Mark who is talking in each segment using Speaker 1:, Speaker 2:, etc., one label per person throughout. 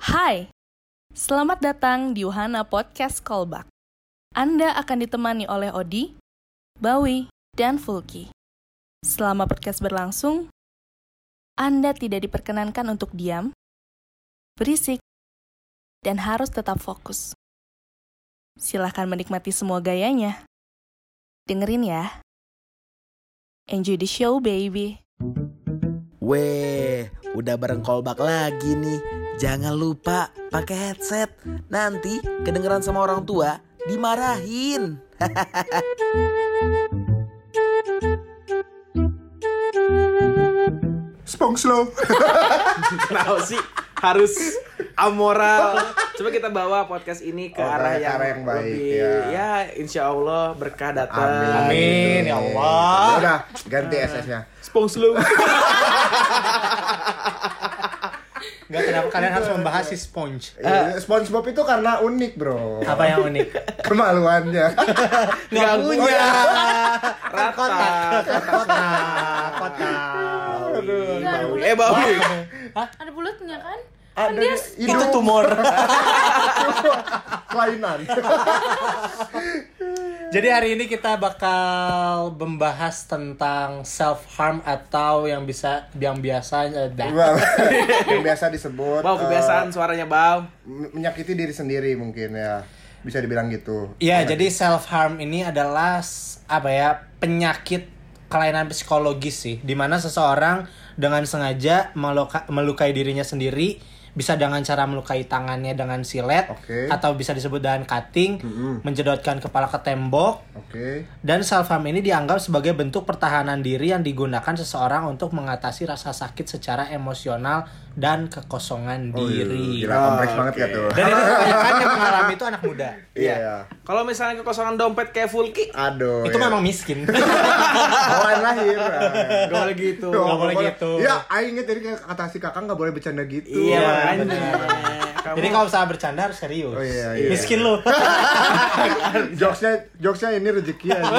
Speaker 1: Hai, selamat datang di Wahana Podcast Callback. Anda akan ditemani oleh Odi, Bawi, dan Fulki. Selama podcast berlangsung, Anda tidak diperkenankan untuk diam, berisik, dan harus tetap fokus. Silahkan menikmati semua gayanya. Dengerin ya. Enjoy the show, baby.
Speaker 2: Weh, udah bareng kolbak lagi nih. Jangan lupa pakai headset. Nanti kedengeran sama orang tua, dimarahin.
Speaker 3: Spongslow.
Speaker 4: Kenapa sih harus amoral? Coba kita bawa podcast ini ke
Speaker 3: Oh,
Speaker 4: arah
Speaker 3: ke
Speaker 4: yang,
Speaker 3: arah yang baik,
Speaker 4: lebih
Speaker 3: ya.
Speaker 4: ya. insya Allah berkah datang.
Speaker 3: Amin. ya Allah. Udah, ganti SS-nya.
Speaker 4: Spons lu.
Speaker 5: Enggak kenapa kalian
Speaker 4: Iya,
Speaker 5: harus membahas si sponge.
Speaker 3: Eh, SpongeBob itu karena unik, Bro.
Speaker 5: Apa yang unik?
Speaker 3: Kemaluannya.
Speaker 4: Nggak punya.
Speaker 5: Kota,
Speaker 4: ya. Rata.
Speaker 5: kota, kota.
Speaker 4: Eh bawi.
Speaker 1: Ada bulatnya kan?
Speaker 3: Ada
Speaker 1: Dia
Speaker 3: di-
Speaker 5: Itu tumor.
Speaker 3: kelainan.
Speaker 5: Jadi hari ini kita bakal membahas tentang self harm atau yang bisa yang biasa eh, dah.
Speaker 4: Iya.
Speaker 3: Wow. yang biasa disebut
Speaker 4: Bau kebiasaan suaranya
Speaker 3: eh,
Speaker 4: bau.
Speaker 3: men- menyakiti diri sendiri mungkin ya. Bisa dibilang gitu.
Speaker 5: Iya, jadi self harm ini adalah s- apa ya? penyakit kelainan psikologis sih, di mana seseorang dengan sengaja meluka- melukai dirinya sendiri bisa dengan cara melukai tangannya dengan silet
Speaker 3: Oke.
Speaker 5: atau bisa disebut dengan cutting, menjedotkan kepala ke tembok,
Speaker 3: Oke.
Speaker 5: Dan self harm ini dianggap sebagai bentuk pertahanan diri yang digunakan seseorang untuk mengatasi rasa sakit secara emosional dan kekosongan
Speaker 3: Oh, iya,
Speaker 5: diri.
Speaker 3: Gila, kompleks
Speaker 4: Oh,
Speaker 3: banget
Speaker 4: oke.
Speaker 3: ya tuh.
Speaker 5: Dan ini kebanyakan yang mengalami itu anak muda.
Speaker 3: Iya.
Speaker 4: Kalau misalnya kekosongan dompet kayak Fulki,
Speaker 3: Aduh. Oh,
Speaker 5: itu
Speaker 3: ya.
Speaker 5: memang miskin.
Speaker 3: bawaan lahir.
Speaker 4: gak boleh gitu.
Speaker 3: Tuh,
Speaker 5: Nggak boleh gitu.
Speaker 3: Ya, aing inget tadi kata si kakak nggak boleh bercanda gitu.
Speaker 4: Iya makanya.
Speaker 5: Iya, bener.
Speaker 4: Kamu
Speaker 5: Jadi kalau usaha bercanda harus serius.
Speaker 3: Oh, iya, iya.
Speaker 5: Miskin lo.
Speaker 3: jokesnya jokesnya ini rezeki aja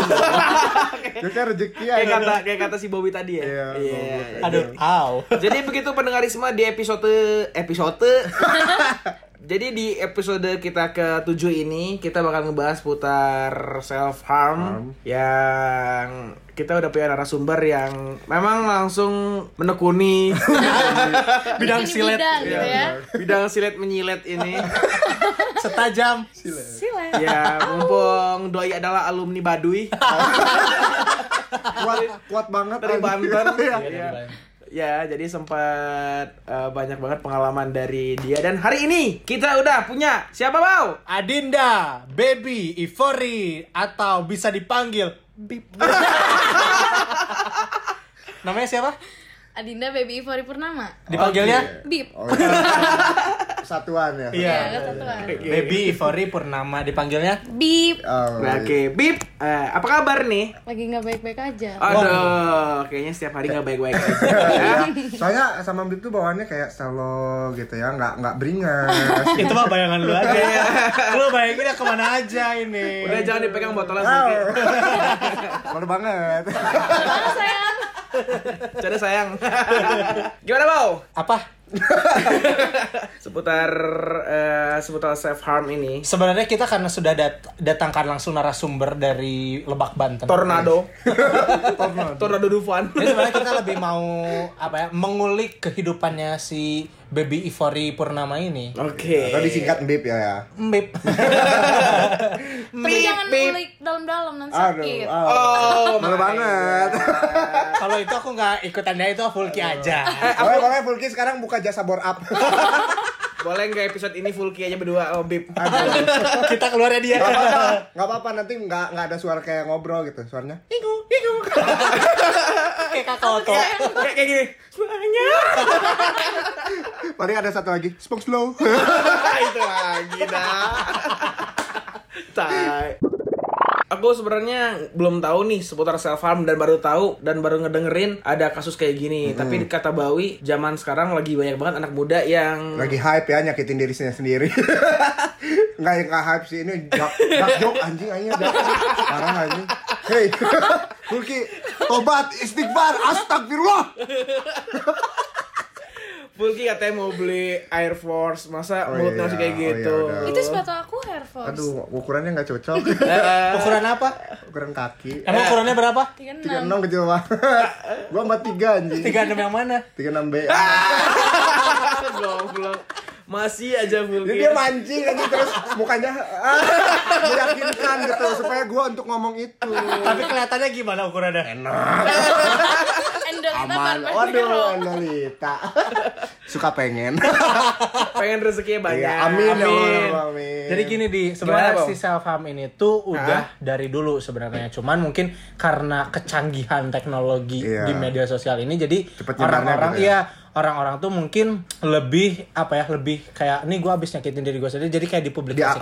Speaker 3: jokesnya rezeki
Speaker 4: kayak
Speaker 3: aja
Speaker 4: kata kayak kata si Bobby tadi ya.
Speaker 3: Iya, goblok.
Speaker 5: Aduh, au.
Speaker 4: Jadi begitu pendengarisme di episode episode Jadi di episode kita ke-7 ini kita bakal ngebahas putar self harm yang kita udah punya narasumber yang memang langsung menekuni
Speaker 5: Bidang silet.
Speaker 6: bidang gitu ya.
Speaker 4: bidang silet menyilet ini.
Speaker 5: Setajam.
Speaker 6: Silet.
Speaker 4: ya, mumpung doi adalah alumni Baduy
Speaker 3: kuat kuat banget
Speaker 4: dari
Speaker 3: anjing.
Speaker 4: Banten.
Speaker 3: Iya.
Speaker 4: Iya. Ya, jadi sempat eh, banyak banget pengalaman dari dia dan hari ini kita udah punya siapa Bau?
Speaker 5: Adinda, Baby, Ivory, atau bisa dipanggil Bip. Namanya siapa?
Speaker 6: Adinda Baby Ivory Purnama.
Speaker 5: Dipanggilnya?
Speaker 6: Bip.
Speaker 3: Oh, itu satuan ya
Speaker 5: Iya.
Speaker 6: Ya, kesatuan.
Speaker 5: Baby Ivory Purnama dipanggilnya
Speaker 6: Bip.
Speaker 3: Oh,
Speaker 4: Nah, Oke, Bip, eh, apa kabar nih?
Speaker 6: Lagi nggak baik-baik aja.
Speaker 4: Aduh, kayaknya setiap hari nggak baik-baik aja.
Speaker 3: iya.
Speaker 4: Ya.
Speaker 3: soalnya sama Bib tuh bawaannya kayak selo gitu ya nggak nggak beringas
Speaker 5: itu mah bayangan lu aja ya. lu bayangin ya kemana aja ini
Speaker 4: Udah jangan dipegang botolnya
Speaker 3: Wow.
Speaker 4: Fulki.
Speaker 3: Malu banget
Speaker 4: Canda sayang. Gimana Bau?
Speaker 5: apa
Speaker 4: Seputar eh, seputar self harm ini.
Speaker 5: sebenarnya kita karena sudah dat- datangkan langsung narasumber dari Lebak Banten
Speaker 4: Tornado. Tornado Dufan.
Speaker 5: jadi sebenarnya kita lebih mau apa ya mengulik kehidupannya si Baby Ivory Purnama ini
Speaker 4: Oke.
Speaker 3: atau disingkat Bib ya ya
Speaker 5: Mbip.
Speaker 6: Tapi jangan ngulik dalam-dalam nanti sakit.
Speaker 3: aduh.
Speaker 4: Oh,
Speaker 3: malu banget
Speaker 5: Kalau itu aku nggak ikutan dia itu Fulki aja.
Speaker 3: boleh boleh Fulki sekarang buka jasa bore up
Speaker 4: boleh nggak episode ini Fulki aja berdua sama Bip?
Speaker 5: Kita keluarnya dia.
Speaker 3: Gak apa-apa, gak apa-apa nanti nggak nggak ada suara kayak ngobrol gitu suaranya.
Speaker 5: Kayak kakak Oto.
Speaker 4: Kayak kayak gini.
Speaker 3: Paling ada satu lagi, spoke slow.
Speaker 4: Ah, itu lagi dah. Tai. Aku sebenarnya belum tahu nih seputar self harm dan baru tahu dan baru ngedengerin ada kasus kayak gini. Tapi kata Bawi, zaman sekarang lagi banyak banget anak muda yang
Speaker 3: Lagi hype ya nyakitin diri sendiri sendiri. Nggak nggak hype sih ini dark, dark joke anjing anjing dark joke. parah anjing. Hey, Turki, tobat, istighfar, astagfirullah.
Speaker 4: Fulki katanya mau beli Air Force, masa
Speaker 3: Oh, iya,
Speaker 4: mulutnya masih
Speaker 3: oh,
Speaker 4: kayak
Speaker 3: iya,
Speaker 4: gitu.
Speaker 3: udah.
Speaker 6: Itu sepatu aku Air Force.
Speaker 3: Aduh, ukurannya nggak cocok.
Speaker 5: Ukuran apa?
Speaker 3: Ukuran kaki.
Speaker 5: Emang ukurannya berapa?
Speaker 6: 36.
Speaker 3: 36 kecil banget. Gua 43 anjing.
Speaker 5: 36 yang mana?
Speaker 3: 36 B. Ah.
Speaker 4: Goblok. Masih aja Fulki.
Speaker 3: Jadi dia mancing aja terus mukanya ah, meyakinkan gitu supaya gua untuk ngomong itu.
Speaker 5: Tapi kelihatannya gimana ukurannya?
Speaker 6: Endolita Barbar
Speaker 3: Nah, Waduh, Lolita. Suka pengen.
Speaker 4: pengen rezekinya banyak.
Speaker 3: Iya, amin, ya Allah,
Speaker 4: Amin.
Speaker 3: amin.
Speaker 5: Jadi gini di sebenarnya
Speaker 4: Bang?
Speaker 5: si self harm ini tuh udah dari dulu sebenarnya cuman mungkin karena kecanggihan teknologi
Speaker 3: Iya.
Speaker 5: di media sosial ini jadi
Speaker 3: Cepet nyebarnya
Speaker 5: orang-orang
Speaker 3: gitu ya.
Speaker 5: iya orang-orang tuh mungkin lebih apa ya lebih kayak nih gua habis nyakitin diri gua sendiri jadi kayak dipublikasikan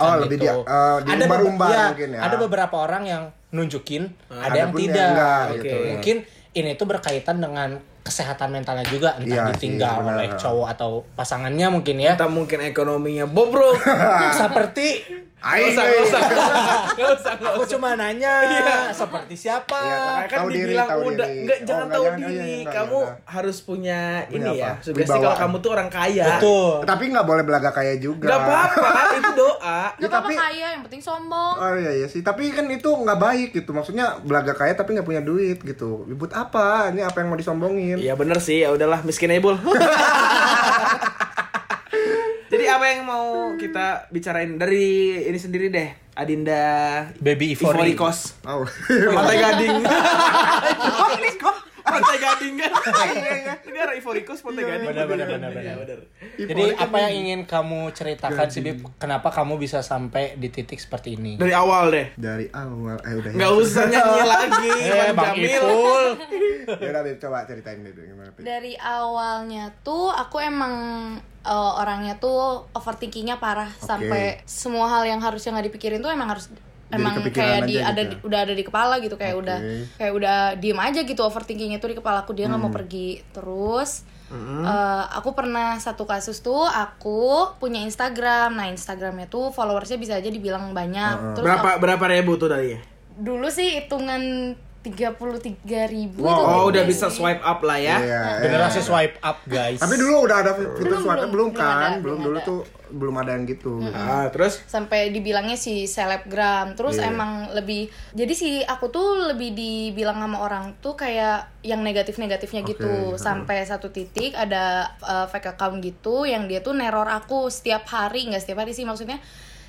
Speaker 3: Di- oh,
Speaker 5: gitu.
Speaker 3: lebih dia- eh, diumbar-umbar
Speaker 5: bebe- iya,
Speaker 3: mungkin ya.
Speaker 5: Ada beberapa orang yang nunjukin, ada,
Speaker 3: ada
Speaker 5: yang
Speaker 3: pun yang
Speaker 5: tidak.
Speaker 3: enggak,
Speaker 5: Oke.
Speaker 3: gitu.
Speaker 5: Mungkin ini tuh berkaitan dengan kesehatan mentalnya juga entah
Speaker 3: Iya sih,
Speaker 5: ditinggal
Speaker 3: benar.
Speaker 5: oleh cowok atau pasangannya mungkin ya.
Speaker 4: Entah mungkin ekonominya bobrok.
Speaker 5: Seperti
Speaker 3: Aing.
Speaker 4: Gak usah, gak usah. Gak usah, gak
Speaker 5: Aku
Speaker 4: usah.
Speaker 5: cuma nanya seperti siapa.
Speaker 3: Iya,
Speaker 4: Nah, kan
Speaker 3: Tahu diri,
Speaker 4: dibilang
Speaker 3: tahu
Speaker 4: udah
Speaker 3: diri.
Speaker 4: nggak
Speaker 3: Oh,
Speaker 4: jangan
Speaker 3: nggak,
Speaker 4: tahu
Speaker 3: jangan,
Speaker 4: diri
Speaker 3: iya, iya, nggak,
Speaker 4: kamu
Speaker 3: nggak.
Speaker 4: harus punya
Speaker 3: Punya
Speaker 4: ini ya
Speaker 3: apa?
Speaker 4: sugesti kalau
Speaker 3: Wibawaan.
Speaker 4: kamu tuh orang kaya
Speaker 5: Betul.
Speaker 3: Tapi nggak boleh belaga kaya juga.
Speaker 4: Gak apa-apa itu
Speaker 3: Ya,
Speaker 4: doa
Speaker 6: Gak apa-apa
Speaker 3: tapi-
Speaker 6: kaya, yang penting sombong.
Speaker 3: Oh iya iya sih, tapi kan itu nggak baik gitu. Maksudnya belaga kaya tapi nggak punya duit gitu. Ribut apa? Ini apa yang mau disombongin?
Speaker 4: Iya bener sih, ya udahlah miskin aja Bul. Jadi apa yang mau kita bicarain dari ini sendiri deh, Adinda
Speaker 5: Baby
Speaker 4: Ivory
Speaker 5: Ivory.
Speaker 4: Coast.
Speaker 3: Oh.
Speaker 4: Pantai Gading. Pantai Gading kan. Ini arah Ivory Coast Pantai Gading.
Speaker 5: Benar, benar, benar, benar.
Speaker 4: Iya, benar.
Speaker 5: Jadi
Speaker 3: Iya.
Speaker 5: apa yang ingin kamu ceritakan sih Bib? Kenapa kamu bisa sampai di titik seperti ini?
Speaker 4: Dari awal deh.
Speaker 3: Dari awal eh udah
Speaker 4: Nggak usah nyanyi lagi.
Speaker 5: Eh,
Speaker 4: Bang
Speaker 5: Bang
Speaker 4: Jamil.
Speaker 5: Ipul.
Speaker 3: Ya udah Beb, coba ceritain Beb gimana Beb.
Speaker 6: Dari awalnya tuh aku emang eh, orangnya tuh overthinkingnya parah sampai semua hal yang harusnya nggak dipikirin tuh emang harus
Speaker 3: Jadi
Speaker 6: emang
Speaker 3: kepikiran
Speaker 6: kayak di
Speaker 3: aja
Speaker 6: ada
Speaker 3: gitu.
Speaker 6: di- udah ada di kepala gitu kayak
Speaker 3: Oke.
Speaker 6: udah kayak udah diem aja gitu overthinkingnya tuh di kepala aku dia nggak
Speaker 3: Hmm.
Speaker 6: mau pergi terus eh, aku pernah satu kasus tuh aku punya Instagram nah Instagramnya tuh followersnya bisa aja dibilang banyak terus
Speaker 4: Berapa berapa ribu tuh tadi ya?
Speaker 6: dulu sih hitungan 33.000 ribu
Speaker 3: Wow.
Speaker 4: Oh, udah bisa swipe up lah ya.
Speaker 3: Iya, iya.
Speaker 5: Generasi swipe up guys.
Speaker 3: Tapi dulu udah ada fitur
Speaker 6: Belum,
Speaker 3: suara
Speaker 6: belum,
Speaker 3: belum
Speaker 6: belum
Speaker 3: kan?
Speaker 6: ada,
Speaker 3: Belum
Speaker 6: belum
Speaker 3: dulu
Speaker 6: ada.
Speaker 3: tuh belum ada yang gitu.
Speaker 4: Ah, terus
Speaker 6: sampai dibilangnya si selebgram terus
Speaker 3: Iya.
Speaker 6: emang lebih jadi si aku tuh lebih dibilang sama orang tuh kayak yang negatif negatifnya
Speaker 3: Oke,
Speaker 6: gitu sampai satu titik ada uh, fake account gitu yang dia tuh neror aku setiap hari nggak setiap hari sih maksudnya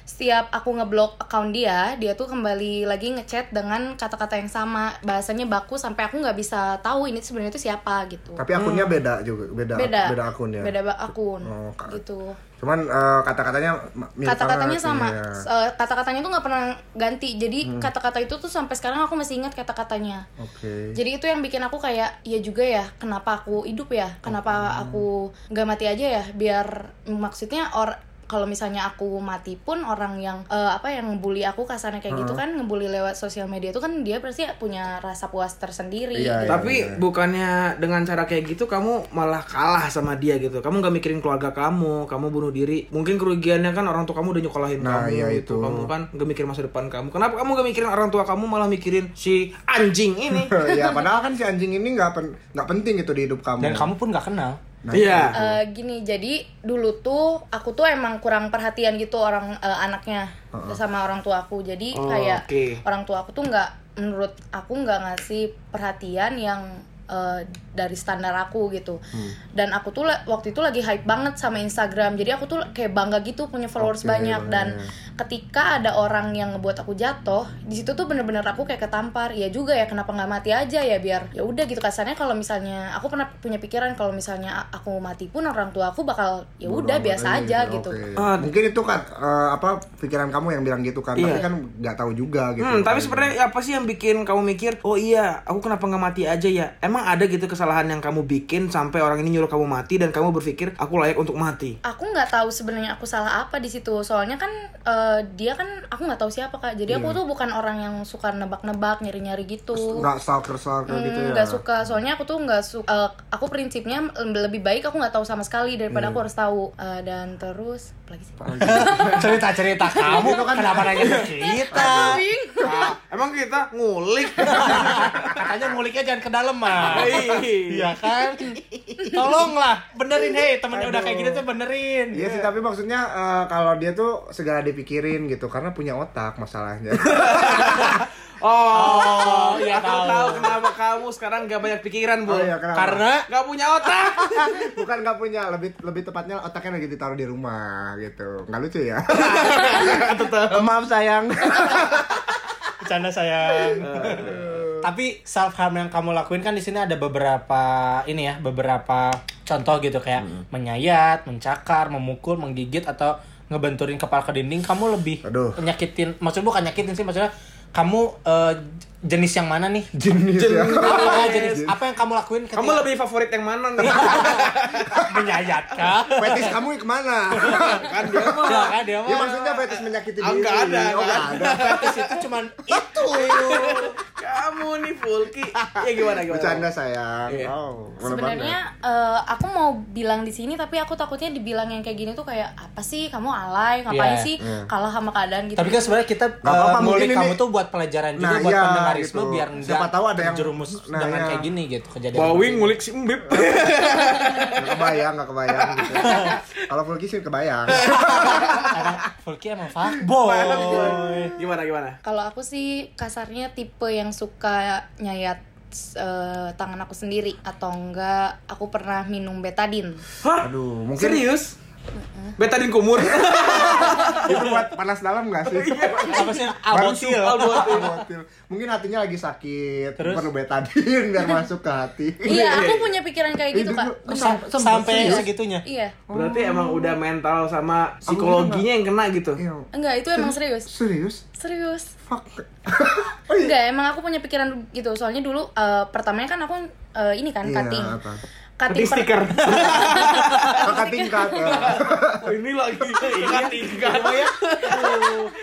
Speaker 6: setiap aku ngeblok account dia dia tuh kembali lagi ngechat dengan kata-kata yang sama bahasanya baku sampai aku nggak bisa tahu ini sebenarnya itu siapa gitu
Speaker 3: Tapi akunnya beda juga, beda
Speaker 6: beda
Speaker 3: beda akunnya.
Speaker 6: beda ba- akun
Speaker 3: Oh, ka-
Speaker 6: gitu
Speaker 3: Cuman eh, kata-katanya ma- mirip
Speaker 6: kata-katanya
Speaker 3: banget,
Speaker 6: sama
Speaker 3: iya. Hmm.
Speaker 6: S- eh, kata-katanya tuh nggak pernah ganti jadi kata-kata itu tuh sampai sekarang aku masih ingat kata-katanya
Speaker 3: Oke.
Speaker 6: jadi itu yang bikin aku kayak ya juga ya kenapa aku hidup ya kenapa aku nggak mati aja ya biar maksudnya or kalau misalnya aku mati pun orang yang eh, apa yang ngebully aku kasarnya kayak
Speaker 3: Hmm.
Speaker 6: gitu kan ngebully lewat sosial media itu kan dia pasti punya rasa puas tersendiri
Speaker 3: Iya, iya.
Speaker 6: gitu.
Speaker 4: Tapi bukannya dengan cara kayak gitu kamu malah kalah sama dia gitu. Kamu nggak mikirin keluarga kamu, kamu bunuh diri. Mungkin kerugiannya kan orang tua kamu udah nyekolahin
Speaker 3: Nah,
Speaker 4: kamu
Speaker 3: iya
Speaker 4: gitu.
Speaker 3: itu.
Speaker 4: Kamu kan nggak mikirin masa depan kamu. Kenapa kamu nggak mikirin orang tua kamu malah mikirin si anjing ini?
Speaker 3: ya padahal kan si anjing ini nggak pen- nggak penting gitu di hidup kamu.
Speaker 5: Dan kamu pun nggak kenal.
Speaker 3: Nah,
Speaker 4: Iya.
Speaker 6: Eh, gini jadi dulu tuh aku tuh emang kurang perhatian gitu orang eh, anaknya sama orang tua aku jadi
Speaker 4: Oh,
Speaker 6: kayak
Speaker 4: oke.
Speaker 6: orang tua aku tuh nggak menurut aku nggak ngasih perhatian yang eh, dari standar aku gitu
Speaker 4: Hmm.
Speaker 6: dan aku tuh la- waktu itu lagi hype banget sama Instagram jadi aku tuh kayak bangga gitu punya followers
Speaker 3: Oke,
Speaker 6: banyak dan
Speaker 3: iya.
Speaker 6: ketika ada orang yang ngebuat aku jatuh di situ tuh bener-bener aku kayak ketampar ya juga ya kenapa nggak mati aja ya biar ya udah gitu kasarnya kalau misalnya aku pernah punya pikiran kalau misalnya a- aku mati pun orang tua aku bakal ya udah
Speaker 3: Bodoh amat
Speaker 6: biasa aja gitu
Speaker 3: Oke.
Speaker 4: Ah.
Speaker 3: Mungkin itu kan eh, apa pikiran kamu yang bilang gitu kan, tapi
Speaker 4: Iya.
Speaker 3: kan nggak tahu juga gitu.
Speaker 4: Hmm, tapi
Speaker 3: Kan.
Speaker 4: sebenarnya apa sih yang bikin kamu mikir, oh iya, aku kenapa nggak mati aja ya? Emang ada gitu kesalahan yang kamu bikin sampai orang ini nyuruh kamu mati dan kamu berpikir aku layak untuk mati?
Speaker 6: aku nggak tahu sebenarnya aku salah apa di situ soalnya kan eh, eh, dia kan aku nggak tahu siapa kak. Jadi aku tuh bukan orang yang suka nebak-nebak, nyari-nyari gitu.
Speaker 3: Iya. nggak stalker stalker
Speaker 6: Hmm,
Speaker 3: gitu ya
Speaker 6: nggak suka soalnya aku tuh nggak suka aku prinsipnya mm, lebih baik aku nggak tahu sama sekali daripada
Speaker 3: Iya.
Speaker 6: aku harus tahu Eh, dan terus apa lagi sih
Speaker 5: cerita cerita kamu
Speaker 3: kan-
Speaker 5: kenapa nanya ke kita
Speaker 4: Ah, emang kita ngulik.
Speaker 5: katanya muliknya jangan kedalaman
Speaker 4: Iya.
Speaker 5: iya kan tolonglah benerin hei temennya udah kayak gini tuh benerin
Speaker 3: Iya sih, tapi maksudnya eh, kalau dia tuh segala dipikirin gitu karena punya otak masalahnya.
Speaker 4: Oh,
Speaker 5: iya
Speaker 4: aku
Speaker 5: tahu.
Speaker 4: tahu. kenapa kamu sekarang gak banyak pikiran,
Speaker 3: Oh
Speaker 4: Bu.
Speaker 3: iya, kenapa?
Speaker 5: karena
Speaker 4: Gak punya otak.
Speaker 3: Bukan nggak punya, lebih lebih tepatnya otaknya lagi ditaruh di rumah gitu. Nggak lucu ya? Maaf sayang.
Speaker 5: bercanda sayang tapi self harm yang kamu lakuin kan di sini ada beberapa ini ya beberapa contoh gitu kayak menyayat mencakar memukul menggigit atau ngebenturin kepala ke dinding kamu lebih
Speaker 3: Aduh.
Speaker 5: nyakitin maksudnya bukan nyakitin sih maksudnya kamu eh, jenis yang mana nih
Speaker 3: Jenis ya.
Speaker 5: apa, jenis, apa yang kamu lakuin ketika
Speaker 4: Kamu lebih favorit yang mana nih?
Speaker 5: menyayat kah
Speaker 3: Fetis kamu kemana?
Speaker 4: kan dia mah.
Speaker 5: Enggak kan
Speaker 3: ya
Speaker 5: dia mah.
Speaker 3: maksudnya fetis menyakiti
Speaker 4: Ah,
Speaker 3: diri.
Speaker 4: nggak ada,
Speaker 3: Oh,
Speaker 4: nggak
Speaker 3: nggak
Speaker 4: ada.
Speaker 3: ada.
Speaker 5: Fetis itu cuman itu
Speaker 4: Kamu nih Fulki. Ya gimana gimana?
Speaker 3: Bercanda sayang.
Speaker 4: Iya.
Speaker 3: Oh, boleh
Speaker 6: sebenarnya
Speaker 3: banget.
Speaker 6: eh, aku mau bilang di sini tapi aku takutnya dibilang yang kayak gini tuh kayak apa sih kamu alay ngapain
Speaker 5: Iya,
Speaker 6: sih kalah sama keadaan gitu
Speaker 5: tapi kan sebenarnya kita
Speaker 3: Nggak apa-apa,
Speaker 5: eh, ngulik
Speaker 3: mungkin
Speaker 5: kamu
Speaker 3: ini-
Speaker 5: tuh buat pelajaran juga
Speaker 3: Nah,
Speaker 5: buat
Speaker 3: iya,
Speaker 5: pendengarisme
Speaker 3: gitu.
Speaker 5: biar
Speaker 3: Siapa
Speaker 5: nggak
Speaker 3: tahu ada yang-
Speaker 5: terjerumus
Speaker 3: Nah,
Speaker 5: dengan
Speaker 3: iya.
Speaker 5: kayak gini gitu kejadian
Speaker 4: Bawing
Speaker 5: seperti ini.
Speaker 4: ngulik si Mbip.
Speaker 3: Nggak kebayang, nggak kebayang gitu. Kalau Fulki sih kebayang.
Speaker 5: Karena Fulki emang fuckboy
Speaker 4: Gimana gimana?
Speaker 6: kalau aku sih kasarnya tipe yang suka nyayat eh, tangan aku sendiri atau enggak aku pernah minum betadin
Speaker 4: Hah?
Speaker 3: Aduh, mungkin
Speaker 4: Serius? Betadin kumur.
Speaker 3: itu buat panas dalam nggak sih?
Speaker 4: Iya.
Speaker 5: apa sih
Speaker 3: Baru
Speaker 5: albotil
Speaker 3: Albotil. Albotil. Mungkin hatinya lagi sakit.
Speaker 5: Terus?
Speaker 3: Perlu betadin biar masuk ke hati.
Speaker 6: iya aku punya pikiran kayak
Speaker 3: Itu
Speaker 6: gitu kak
Speaker 3: dulu-
Speaker 5: Sam- sampai segitunya
Speaker 6: iya
Speaker 4: Berarti
Speaker 3: Oh.
Speaker 4: emang udah mental sama psikologinya yang kena
Speaker 3: gitu
Speaker 4: gitu.
Speaker 3: Iya.
Speaker 6: enggak itu emang serius
Speaker 3: Serius?
Speaker 6: Serius?
Speaker 3: Fuck.
Speaker 6: Enggak, emang aku punya pikiran gitu. Soalnya dulu eh, pertamanya kan aku eh, ini kan
Speaker 3: Iya,
Speaker 6: cutting.
Speaker 3: apa?
Speaker 4: Tapi
Speaker 6: Cutting
Speaker 4: stiker.
Speaker 6: per-
Speaker 3: Kakak tingkat. ya.
Speaker 4: Ini lagi tingkat tingkat.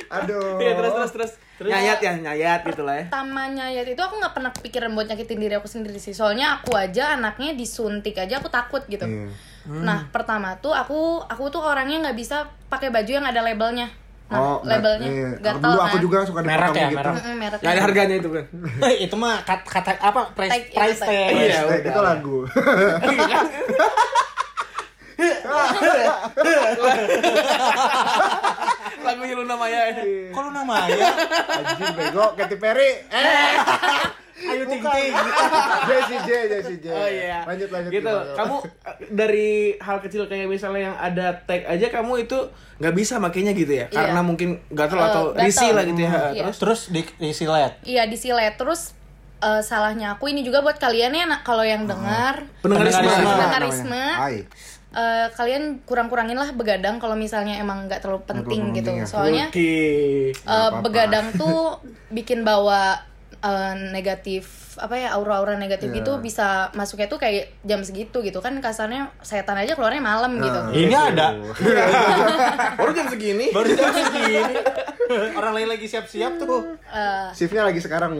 Speaker 3: Aduh.
Speaker 4: Iya terus terus terus. Nyayat ya nyayat gitu lah ya.
Speaker 6: pertamanya ya itu aku nggak pernah kepikiran buat nyakitin diri aku sendiri sih. Soalnya aku aja anaknya disuntik aja aku takut gitu.
Speaker 3: Iya.
Speaker 6: Nah, pertama tuh aku aku tuh orangnya nggak bisa pakai baju yang ada labelnya.
Speaker 3: Oh,
Speaker 6: Nah, labelnya
Speaker 3: nggak- iya.
Speaker 6: gatel
Speaker 3: Dulu aku
Speaker 6: kan.
Speaker 3: juga suka
Speaker 5: Merek
Speaker 3: dipotong
Speaker 5: ya,
Speaker 3: gitu.
Speaker 5: merek.
Speaker 6: Mm, merek.
Speaker 4: Gak ada harganya itu kan.
Speaker 5: itu mah kat- kata apa price
Speaker 6: Tag, iya,
Speaker 5: price
Speaker 6: tag.
Speaker 5: tag.
Speaker 4: Iya,
Speaker 3: Hashtag
Speaker 4: udah.
Speaker 3: itu lagu.
Speaker 4: Lagunya Luna Maya.
Speaker 5: kok lu ya? namanya
Speaker 3: Anjing bego Katy Perry. Eh. Ayo ting ting. Jessie J, Jessie J.
Speaker 4: Oh iya.
Speaker 3: Lanjut lanjut.
Speaker 4: Gitu.
Speaker 3: gimana?
Speaker 4: Kamu eh, dari hal kecil kayak misalnya yang ada tag aja kamu itu nggak bisa makainya gitu ya.
Speaker 6: Iya.
Speaker 4: Karena mungkin gatel
Speaker 6: Eh,
Speaker 4: atau
Speaker 6: gatel.
Speaker 4: risih lah gitu ya.
Speaker 6: Hmm. Iya.
Speaker 4: Terus
Speaker 5: terus di, disilet
Speaker 6: Iya, disilet terus eh, salahnya aku ini juga buat kalian ya nak- kalau yang dengar
Speaker 4: pendengar
Speaker 5: Pendengar
Speaker 4: semua.
Speaker 5: semua.
Speaker 6: Pendengarisme.
Speaker 3: Hai.
Speaker 6: Eh, kalian kurang-kurangin lah begadang kalau misalnya emang nggak terlalu penting gitu.
Speaker 3: penting ya.
Speaker 6: Soalnya
Speaker 4: Oke.
Speaker 6: eh, begadang tuh bikin bawa eh, negatif apa ya aura-aura negatif gitu
Speaker 3: Iya.
Speaker 6: bisa masuknya tuh kayak jam segitu gitu kan kasarnya setan aja keluarnya malam gitu.
Speaker 5: ini ada
Speaker 4: Baru jam segini.
Speaker 5: baru jam segini orang lain lagi siap-siap tuh
Speaker 6: Eh,
Speaker 3: Shiftnya lagi sekarang.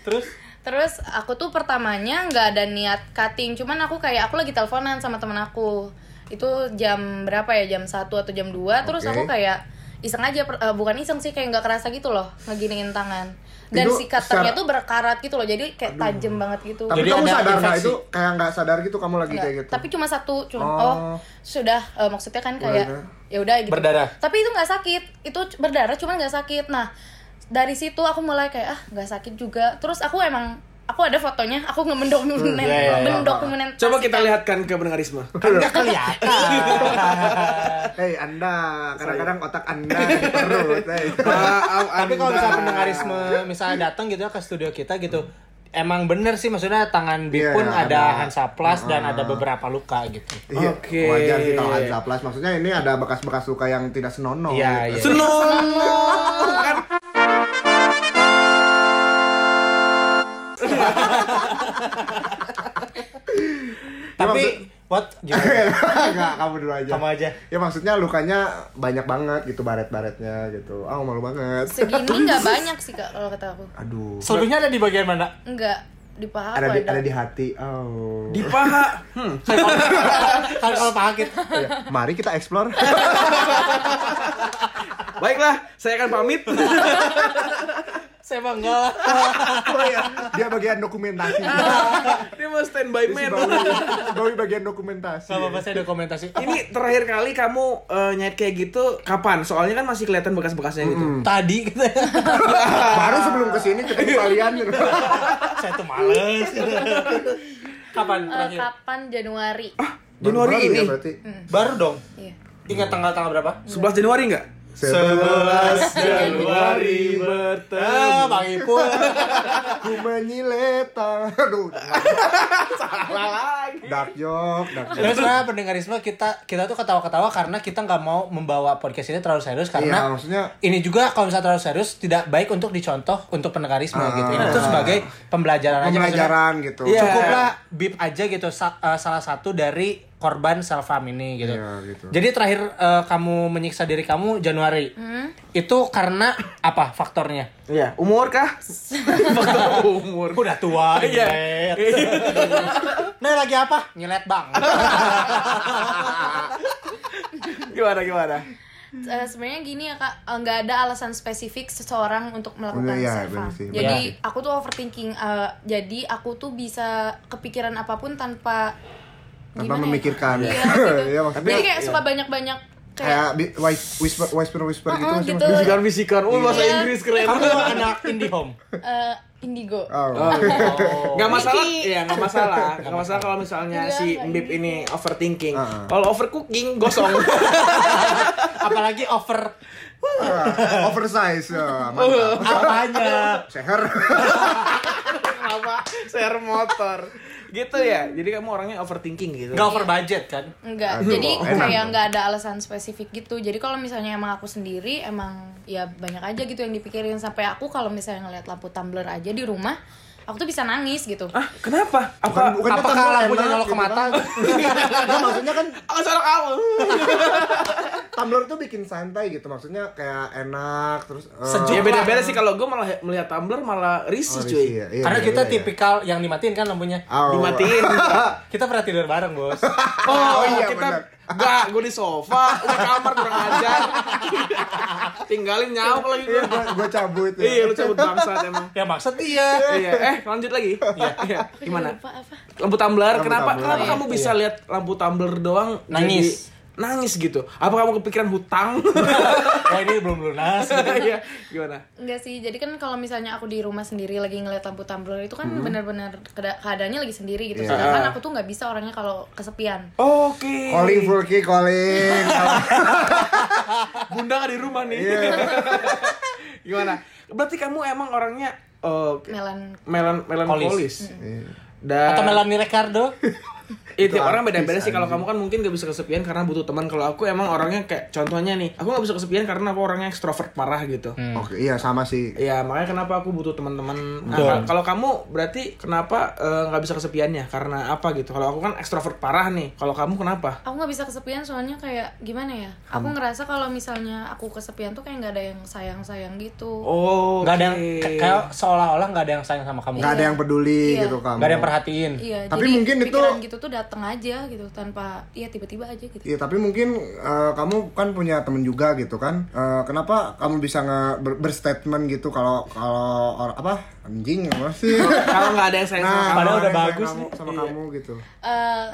Speaker 5: terus
Speaker 6: terus aku tuh pertamanya nggak ada niat cutting, cuman aku kayak aku lagi teleponan sama temen aku. Itu jam berapa ya? Jam 1 atau jam 2. Terus
Speaker 3: Oke.
Speaker 6: aku kayak iseng aja per- eh, bukan iseng sih kayak nggak kerasa gitu loh ngeginiin tangan. Dan
Speaker 3: Itu
Speaker 6: si cutternya
Speaker 3: secara-
Speaker 6: tuh berkarat gitu loh. Jadi kayak tajam banget gitu.
Speaker 3: Tapi
Speaker 5: Jadi
Speaker 3: kamu
Speaker 5: ada
Speaker 3: sadar nggak
Speaker 5: infeksi.
Speaker 3: itu kayak nggak sadar gitu kamu lagi
Speaker 6: Nggak,
Speaker 3: kayak gitu.
Speaker 6: Iya, Tapi cuma satu, cuma
Speaker 3: Oh.
Speaker 6: oh, sudah eh, maksudnya kan kayak
Speaker 3: Udah,
Speaker 6: ya udah gitu.
Speaker 5: Berdarah.
Speaker 6: Tapi itu nggak sakit. Itu c- berdarah cuman nggak sakit. Nah, dari situ aku mulai kayak ah nggak sakit juga. Terus aku emang aku ada fotonya, aku ngemendokumen,
Speaker 5: iya, iya, iya.
Speaker 6: mendokumentasikan.
Speaker 4: Coba kita lihatkan ke pendengarisme.
Speaker 5: kan- nggak kelihatan
Speaker 3: Hei Anda, kadang-kadang otak Anda di perut. Hey.
Speaker 5: tapi kalau misalnya pendengarisme misalnya datang gitu ya ke studio kita gitu emang bener sih maksudnya tangan Bip
Speaker 3: Iya,
Speaker 5: pun ada
Speaker 3: ada.
Speaker 5: Hansa Plus dan
Speaker 4: Ah.
Speaker 5: ada beberapa luka gitu
Speaker 3: Iya,
Speaker 4: Oke.
Speaker 3: Wajar sih kalau Hansa Plus. Maksudnya ini ada bekas-bekas luka yang tidak senonoh.
Speaker 5: Iya,
Speaker 3: gitu.
Speaker 5: iya.
Speaker 4: Senong. Bukan.
Speaker 5: tapi What? Gimana?
Speaker 3: Enggak, kamu dulu aja.
Speaker 5: Kamu aja.
Speaker 3: Ya maksudnya lukanya banyak banget gitu baret-baretnya gitu. Ah, malu banget.
Speaker 6: segini nggak banyak sih kak kalau kata aku
Speaker 3: Aduh.
Speaker 5: Seluruhnya ada di bagian mana?
Speaker 6: nggak di paha
Speaker 3: Ada
Speaker 6: apa
Speaker 3: di,
Speaker 6: ada?
Speaker 3: ada di hati. Oh.
Speaker 4: Di paha. Hmm.
Speaker 5: Kalau kalau pahakit.
Speaker 3: Ya, Mari kita explore.
Speaker 4: Baiklah, saya akan pamit.
Speaker 5: Saya bangga lah.
Speaker 3: Oh iya, dia bagian dokumentasi.
Speaker 4: Dia mau standby
Speaker 3: Dia si
Speaker 4: man.
Speaker 3: Bawi, si Bawi bagian dokumentasi.
Speaker 5: Gak apa-apa saya dokumentasi.
Speaker 4: Ini terakhir kali kamu eh, nyet kayak gitu kapan? Soalnya kan masih kelihatan bekas-bekasnya gitu.
Speaker 5: Tadi gitu ya.
Speaker 3: Baru sebelum kesini ketemu kalian.
Speaker 5: Saya tuh males. gitu. Kapan
Speaker 6: Eh,
Speaker 5: terakhir?
Speaker 6: kapan Januari
Speaker 4: Januari
Speaker 3: Baru-baru
Speaker 4: ini.
Speaker 3: Ya, berarti.
Speaker 5: Baru dong.
Speaker 6: Iya.
Speaker 5: Ingat tanggal-tanggal berapa?
Speaker 4: 11 Januari enggak?
Speaker 5: 11
Speaker 4: Januari
Speaker 5: Ah, Bang Ipul.
Speaker 3: Ku menyileta. Aduh.
Speaker 4: Salah lagi.
Speaker 3: Dark joke, dark joke.
Speaker 5: Terus nah, pendengarisme kita kita tuh ketawa-ketawa karena kita nggak mau membawa podcast ini terlalu serius
Speaker 3: Iya,
Speaker 5: karena
Speaker 3: maksudnya
Speaker 5: ini juga kalau misalnya terlalu serius tidak baik untuk dicontoh untuk pendengarisme
Speaker 3: Ah.
Speaker 5: gitu. Ini tuh sebagai pembelajaran, aja.
Speaker 3: pembelajaran gitu.
Speaker 5: maksudnya.
Speaker 4: Iya.
Speaker 5: Cukuplah bip aja gitu sa- eh, salah satu dari korban self harm ini gitu.
Speaker 3: Iya, gitu.
Speaker 5: Jadi terakhir eh, kamu menyiksa diri kamu Januari. Itu karena apa faktornya?
Speaker 4: Iya, umur kah? Faktor umur.
Speaker 5: Udah tua,
Speaker 4: Iya.
Speaker 5: nyilet. nah lagi apa? Nyilet bang.
Speaker 4: Gimana gimana?
Speaker 3: Hmm.
Speaker 6: Eh, sebenarnya gini ya kak eh, nggak ada alasan spesifik seseorang untuk melakukan
Speaker 3: Bener, iya,
Speaker 6: self harm
Speaker 3: bener sih, bener
Speaker 6: jadi
Speaker 5: sih.
Speaker 6: aku tuh overthinking eh, jadi aku tuh bisa kepikiran apapun tanpa
Speaker 3: Tanpa
Speaker 6: gimana ya?
Speaker 3: memikirkan.
Speaker 6: Iya,
Speaker 3: Iya,
Speaker 6: gitu.
Speaker 3: maksudnya-
Speaker 6: jadi kayak suka banyak banyak kayak
Speaker 3: Kayak bi- wis- whisper whisper whisper
Speaker 6: Oh,
Speaker 3: gitu
Speaker 4: Uh-uh,
Speaker 6: oh,
Speaker 3: masih
Speaker 6: gitu.
Speaker 3: masih-
Speaker 4: Bisikan-bisikan. Oh, bahasa
Speaker 6: Iya.
Speaker 4: Inggris keren.
Speaker 5: Kamu anak indie home.
Speaker 6: eh, indigo
Speaker 3: Oh.
Speaker 4: Nggak masalah,
Speaker 6: Miki.
Speaker 4: ya nggak masalah, nggak masalah kalau misalnya
Speaker 6: Iya,
Speaker 4: si
Speaker 6: nggak
Speaker 4: Mbip ini overthinking.
Speaker 3: Ah.
Speaker 4: Kalau overcooking gosong.
Speaker 5: Apalagi over
Speaker 4: Oh.
Speaker 3: Ah, oversize. Ah, mantap.
Speaker 5: apanya?
Speaker 3: Seher.
Speaker 4: Kenapa? Share motor. Gitu ya. Jadi kamu orangnya overthinking gitu.
Speaker 5: Gak over budget kan?
Speaker 6: Enggak,
Speaker 3: Aduh,
Speaker 6: jadi
Speaker 3: enak
Speaker 6: kayak
Speaker 3: dong.
Speaker 6: nggak ada alasan spesifik gitu. Jadi kalau misalnya emang aku sendiri emang ya banyak aja gitu yang dipikirin sampai aku kalau misalnya ngeliat lampu tumbler aja di rumah, aku tuh bisa nangis gitu.
Speaker 4: Ah, kenapa? Apa?
Speaker 3: Bukan- bukan-
Speaker 4: apa?
Speaker 5: Apakah
Speaker 3: ketemu
Speaker 5: lampunya
Speaker 3: enak,
Speaker 5: nyolok ke
Speaker 3: gitu
Speaker 5: mata?
Speaker 3: Nah, maksudnya kan
Speaker 4: Aku salah kamu.
Speaker 3: Tumblr tuh bikin santai gitu. Maksudnya kayak enak terus eh,
Speaker 5: Sejuk.
Speaker 4: Ya beda-beda sih kalau gue malah melihat Tumblr malah
Speaker 3: oh,
Speaker 4: risih
Speaker 3: iya,
Speaker 4: cuy.
Speaker 3: iya,
Speaker 5: Karena
Speaker 3: iya,
Speaker 5: kita
Speaker 3: iya, iya.
Speaker 5: tipikal yang dimatiin kan lampunya.
Speaker 3: Oh.
Speaker 4: Dimatiin.
Speaker 5: Kita pernah tidur bareng bos.
Speaker 3: Oh,
Speaker 4: Oh,
Speaker 3: iya,
Speaker 4: kita
Speaker 3: benar.
Speaker 4: Enggak, gue di sofa, di kamar kurang ajar. Tinggalin nyauk lagi
Speaker 3: Iya,
Speaker 4: gue.
Speaker 3: gua, gua cabut. ya.
Speaker 4: Iya, lu cabut bangsat emang.
Speaker 5: ya maksud dia.
Speaker 4: Iya, eh lanjut lagi. Iya,
Speaker 6: Aku juga
Speaker 4: gimana?
Speaker 6: Lupa apa?
Speaker 4: lampu tumbler
Speaker 3: Lampu
Speaker 4: kenapa
Speaker 3: tumbler.
Speaker 4: kenapa kamu bisa lihat lampu tumbler doang jadi
Speaker 5: Nangis.
Speaker 4: nangis gitu apa kamu kepikiran hutang
Speaker 5: Wah ini belum lunas.
Speaker 4: Iya, gimana
Speaker 6: Enggak sih, jadi kan kalau misalnya aku di rumah sendiri lagi ngeliat lampu tumbler itu kan
Speaker 3: Mm-hmm.
Speaker 6: benar-benar keda- keadaannya lagi sendiri gitu.
Speaker 3: Iya.
Speaker 6: Sedangkan aku tuh nggak bisa orangnya kalau kesepian.
Speaker 4: oke
Speaker 3: Calling Fulki calling.
Speaker 4: bunda nggak di rumah nih gimana berarti kamu emang orangnya eh,
Speaker 6: Melan
Speaker 4: melon melankolis Iya. dan
Speaker 5: Atau Melanie Ricardo.
Speaker 4: itu,
Speaker 3: Itu
Speaker 4: orang
Speaker 3: artis,
Speaker 4: beda-beda sih kalau
Speaker 3: anjing.
Speaker 4: kamu kan mungkin gak bisa kesepian karena butuh teman kalau aku emang orangnya kayak contohnya nih aku nggak bisa kesepian karena aku orangnya ekstrovert parah gitu
Speaker 3: Oke, iya sama sih.
Speaker 4: Ya makanya kenapa aku butuh teman-teman. Nah,
Speaker 5: Betul.
Speaker 4: kal- kalau kamu berarti kenapa eh, nggak bisa kesepiannya? Karena apa gitu? Kalau aku kan ekstrovert parah nih. Kalau kamu kenapa?
Speaker 6: aku nggak bisa kesepian soalnya kayak gimana ya? Aku ngerasa kalau misalnya aku kesepian tuh kayak nggak ada yang sayang-sayang gitu.
Speaker 4: Oh,
Speaker 5: Gak ada yang
Speaker 4: oke.
Speaker 5: kayak- kayak seolah-olah gak ada yang sayang sama
Speaker 4: Iya.
Speaker 5: kamu.
Speaker 3: Nggak ada yang peduli
Speaker 6: Iya.
Speaker 3: gitu kamu.
Speaker 5: Gak ada yang perhatiin.
Speaker 6: Iya,
Speaker 3: Tapi
Speaker 6: jadi
Speaker 3: mungkin itu-
Speaker 6: pikiran gitu tuh datang aja gitu tanpa ya tiba-tiba aja gitu.
Speaker 3: Iya tapi mungkin eh, kamu kan punya temen juga gitu kan Eh, kenapa kamu bisa nge ber- berstatement gitu kalau kalau or- apa anjing apa sih
Speaker 4: Kalau nggak ada yang sayang sama kamu.
Speaker 3: orang
Speaker 5: padahal udah
Speaker 3: yang sayang
Speaker 5: bagus
Speaker 3: kamu,
Speaker 5: nih.
Speaker 3: sama
Speaker 5: Iya.
Speaker 3: kamu gitu
Speaker 6: Eh,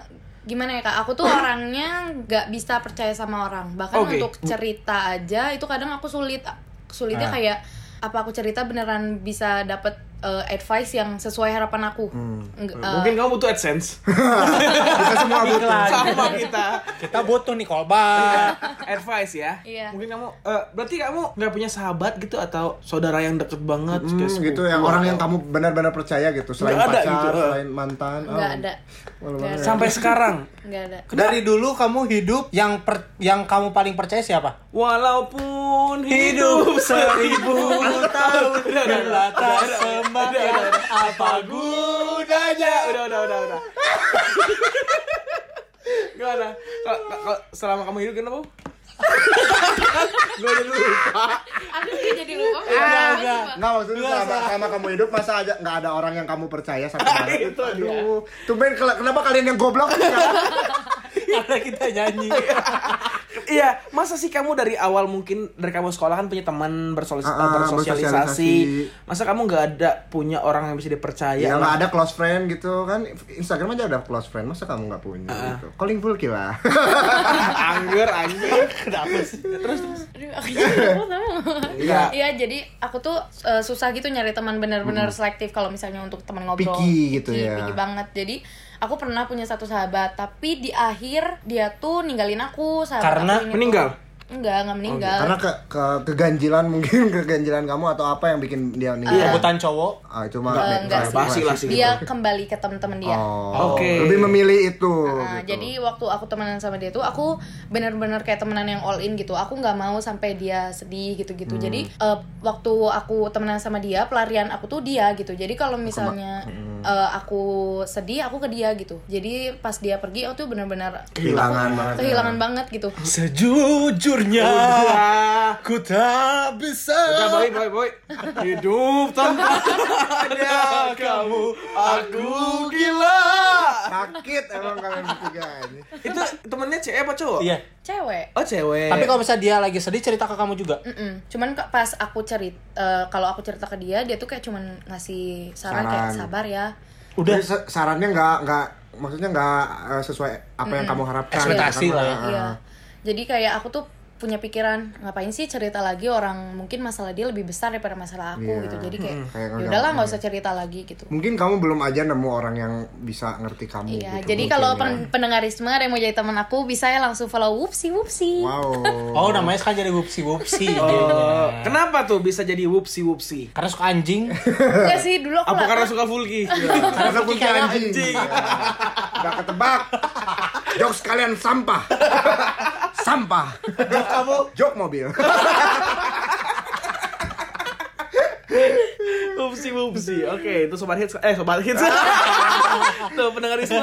Speaker 6: gimana ya kak? Aku tuh orangnya nggak bisa percaya sama orang. Bahkan
Speaker 4: Oke.
Speaker 6: untuk cerita aja itu kadang aku sulit.
Speaker 4: Ah.
Speaker 6: Sulitnya kayak apa aku cerita beneran bisa dapet eh, advice yang sesuai harapan aku. Nggak, eh,
Speaker 4: Hmm. Mungkin kamu butuh adsense
Speaker 3: kita semua butuh
Speaker 5: Iklan.
Speaker 4: sama
Speaker 3: Iya.
Speaker 4: kita.
Speaker 5: Kita butuh nih kolbak.
Speaker 4: Advice ya.
Speaker 6: Iya.
Speaker 4: Mungkin kamu eh, berarti kamu nggak punya sahabat gitu atau saudara yang deket banget
Speaker 3: Hmm,
Speaker 4: kayak sepupu
Speaker 3: gitu yang orang yang
Speaker 4: atau-
Speaker 3: kamu benar-benar percaya gitu selain
Speaker 4: Nggak ada
Speaker 3: pacar
Speaker 4: gitu, eh.
Speaker 3: selain mantan
Speaker 6: nggak
Speaker 3: oh.
Speaker 6: ada.
Speaker 3: Malu
Speaker 6: Nggak
Speaker 3: banget.
Speaker 6: ada.
Speaker 4: sampai sekarang.
Speaker 6: Nggak ada.
Speaker 5: Dari dulu kamu hidup yang per- yang kamu paling percaya siapa?
Speaker 4: Walaupun hidup seribu tahun dan latar semakin apa gunanya? Udah, udah, udah, udah. kalau selama kamu hidup kenapa? Gue dulu lupa.
Speaker 6: Aku juga jadi lupa.
Speaker 4: Ah.
Speaker 5: enggak.
Speaker 3: Nggak maksudnya
Speaker 5: Nggak,
Speaker 3: selama,
Speaker 5: salah.
Speaker 3: selama kamu hidup masa aja nggak ada orang yang kamu percaya sampai sekarang.
Speaker 4: Itu dia.
Speaker 3: Aduh, tumben kela- kenapa kalian yang goblok?
Speaker 5: Karena kita nyanyi.
Speaker 4: Iya, masa sih kamu dari awal mungkin dari kamu sekolah kan punya teman bersolis- eh,
Speaker 3: Ah, ah,
Speaker 4: bersosialisasi.
Speaker 3: bersosialisasi.
Speaker 4: Masa kamu nggak ada punya orang yang bisa dipercaya?
Speaker 3: ya
Speaker 5: Iya,
Speaker 3: nggak
Speaker 4: orang-
Speaker 3: ada close friend gitu kan Instagram aja ada close friend masa kamu nggak punya
Speaker 5: Ah.
Speaker 3: gitu calling full lah
Speaker 4: Angger, angger. Kenapa sih? Terus
Speaker 6: Aduh, aku jadi lupa sama.
Speaker 4: Iya.
Speaker 6: Iya, jadi aku tuh eh, susah gitu nyari teman bener-bener selektif kalau misalnya untuk teman ngobrol.
Speaker 3: Hmm. Picky gitu ya.
Speaker 6: Picky banget. Jadi aku pernah punya satu sahabat, tapi di akhir dia tuh ninggalin aku. Sahabat
Speaker 5: Karena
Speaker 6: aku ini tuh-
Speaker 4: meninggal?
Speaker 6: Enggak, enggak
Speaker 5: Iya.
Speaker 6: meninggal.
Speaker 3: Oh, karena ke, ke keganjilan mungkin keganjilan kamu atau apa yang bikin dia ninggal
Speaker 5: Rebutan cowok.
Speaker 3: ah itu mah
Speaker 6: Eh,
Speaker 3: make-
Speaker 6: enggak
Speaker 3: make-
Speaker 6: sih.
Speaker 4: basi lah sih.
Speaker 6: Dia kembali ke teman-teman
Speaker 5: Iya.
Speaker 6: dia.
Speaker 3: gitu. oh
Speaker 4: Oke.
Speaker 3: lebih memilih itu
Speaker 6: Nah,
Speaker 3: gitu.
Speaker 6: jadi waktu aku temenan sama dia tuh aku benar-benar kayak temenan yang all in gitu. Aku nggak mau sampai dia sedih gitu-gitu.
Speaker 3: Hmm.
Speaker 6: Jadi eh, waktu aku temenan sama dia, pelarian aku tuh dia gitu. Jadi kalau misalnya
Speaker 3: hmm.
Speaker 6: eh, aku sedih, aku ke dia gitu. Jadi pas dia pergi aku tuh benar-benar
Speaker 3: Kehilangan
Speaker 6: aku
Speaker 3: banget. Hmm.
Speaker 6: Kehilangan banget gitu.
Speaker 5: Sejujurnya
Speaker 4: Udah.
Speaker 5: ku tak
Speaker 4: Udah,
Speaker 5: bisa.
Speaker 4: boy, boy, boy. Hidup tanpa ada kamu, aku gila.
Speaker 3: sakit emang kalian bertiga ini
Speaker 4: Itu temennya cewek apa cowok?
Speaker 5: Iya.
Speaker 6: Cewek.
Speaker 4: Oh cewek.
Speaker 5: Tapi kalau misalnya dia lagi sedih cerita ke kamu juga.
Speaker 6: Mm-mm. Cuman ke- pas aku cerita kalau aku cerita ke dia, dia tuh kayak cuman ngasih saran,
Speaker 3: Saran.
Speaker 6: kayak sabar ya.
Speaker 5: Udah.
Speaker 3: Jadi sa- sarannya nggak nggak maksudnya nggak eh, sesuai apa yang kamu harapkan
Speaker 5: Ekspektasi
Speaker 3: gitu kan.
Speaker 5: lah ya.
Speaker 6: Iya. Jadi kayak aku tuh punya pikiran ngapain sih cerita lagi orang mungkin masalah dia lebih besar daripada masalah aku
Speaker 3: Iya.
Speaker 6: gitu. Jadi kayak
Speaker 3: Kayak
Speaker 6: ya udahlah nggak usah cerita lagi gitu.
Speaker 3: mungkin kamu belum aja nemu orang yang bisa ngerti kamu
Speaker 6: Iya,
Speaker 3: gitu
Speaker 6: jadi
Speaker 3: mungkin
Speaker 6: kalau
Speaker 3: ya.
Speaker 6: pen- pendengarisme ada yang mau jadi teman aku bisa ya langsung follow whoopsie whoopsie.
Speaker 3: wow
Speaker 5: Oh, namanya sekarang jadi wupsi wupsi.
Speaker 4: Oh, kenapa tuh bisa jadi whoopsie whoopsie?
Speaker 5: Karena suka anjing.
Speaker 6: Enggak sih dulu aku
Speaker 4: Apa
Speaker 6: nggak-
Speaker 4: karena suka vulgi?
Speaker 3: Karena kunci
Speaker 5: Karena
Speaker 3: anjing. Gak ketebak. Jok sekalian sampah. sampah. Jok kamu. Jok mobil.
Speaker 4: Upsi upsi. Oke, itu sobat hits. Eh, sobat hits. Tuh pendengarisme.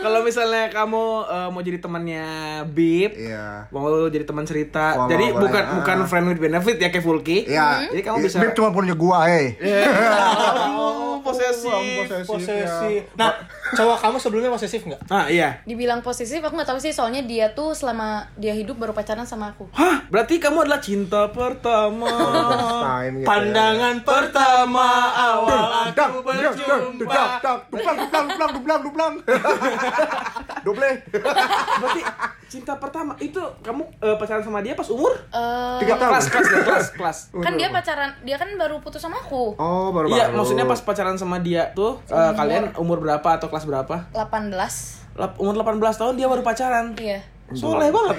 Speaker 4: Kalau misalnya kamu eh, mau jadi temannya Bib,
Speaker 3: Iya.
Speaker 4: mau jadi teman cerita.
Speaker 3: Follow
Speaker 4: jadi
Speaker 3: boleh.
Speaker 4: bukan
Speaker 3: Ah.
Speaker 4: bukan friend with benefit ya kayak Fulki.
Speaker 3: Iya.
Speaker 4: Jadi kamu bisa Iya.
Speaker 3: Beb cuma punya gua, hei.
Speaker 4: Aduh,
Speaker 3: Ampun,
Speaker 4: posesif.
Speaker 5: Posesif. Nah, cowok kamu sebelumnya posesif nggak?
Speaker 4: Ah, iya.
Speaker 6: Dibilang posesif aku nggak tahu sih soalnya dia tuh selama dia hidup baru pacaran sama aku.
Speaker 4: Hah, berarti kamu adalah cinta pertama.
Speaker 3: First time gitu.
Speaker 5: Pandangan pertama awal
Speaker 3: Dang, dang, dang, dang,
Speaker 5: aku berjumpa.
Speaker 3: dang, dublang, dublang, dublang, dublang, dublang. Doble.
Speaker 4: Berarti cinta pertama itu kamu eh, pacaran sama dia pas umur?
Speaker 6: Eh,
Speaker 3: Tiga tahun.
Speaker 4: Kelas, kelas, ya, kelas, kelas.
Speaker 6: kan dia pacaran, dia kan baru putus sama aku.
Speaker 3: Oh, baru baru.
Speaker 4: Iya, maksudnya pas pacaran sama dia tuh eh, kalian umur berapa atau kelas berapa?
Speaker 6: 18.
Speaker 4: Lap- umur 18 tahun dia baru pacaran.
Speaker 6: Iya.
Speaker 4: Soleh banget.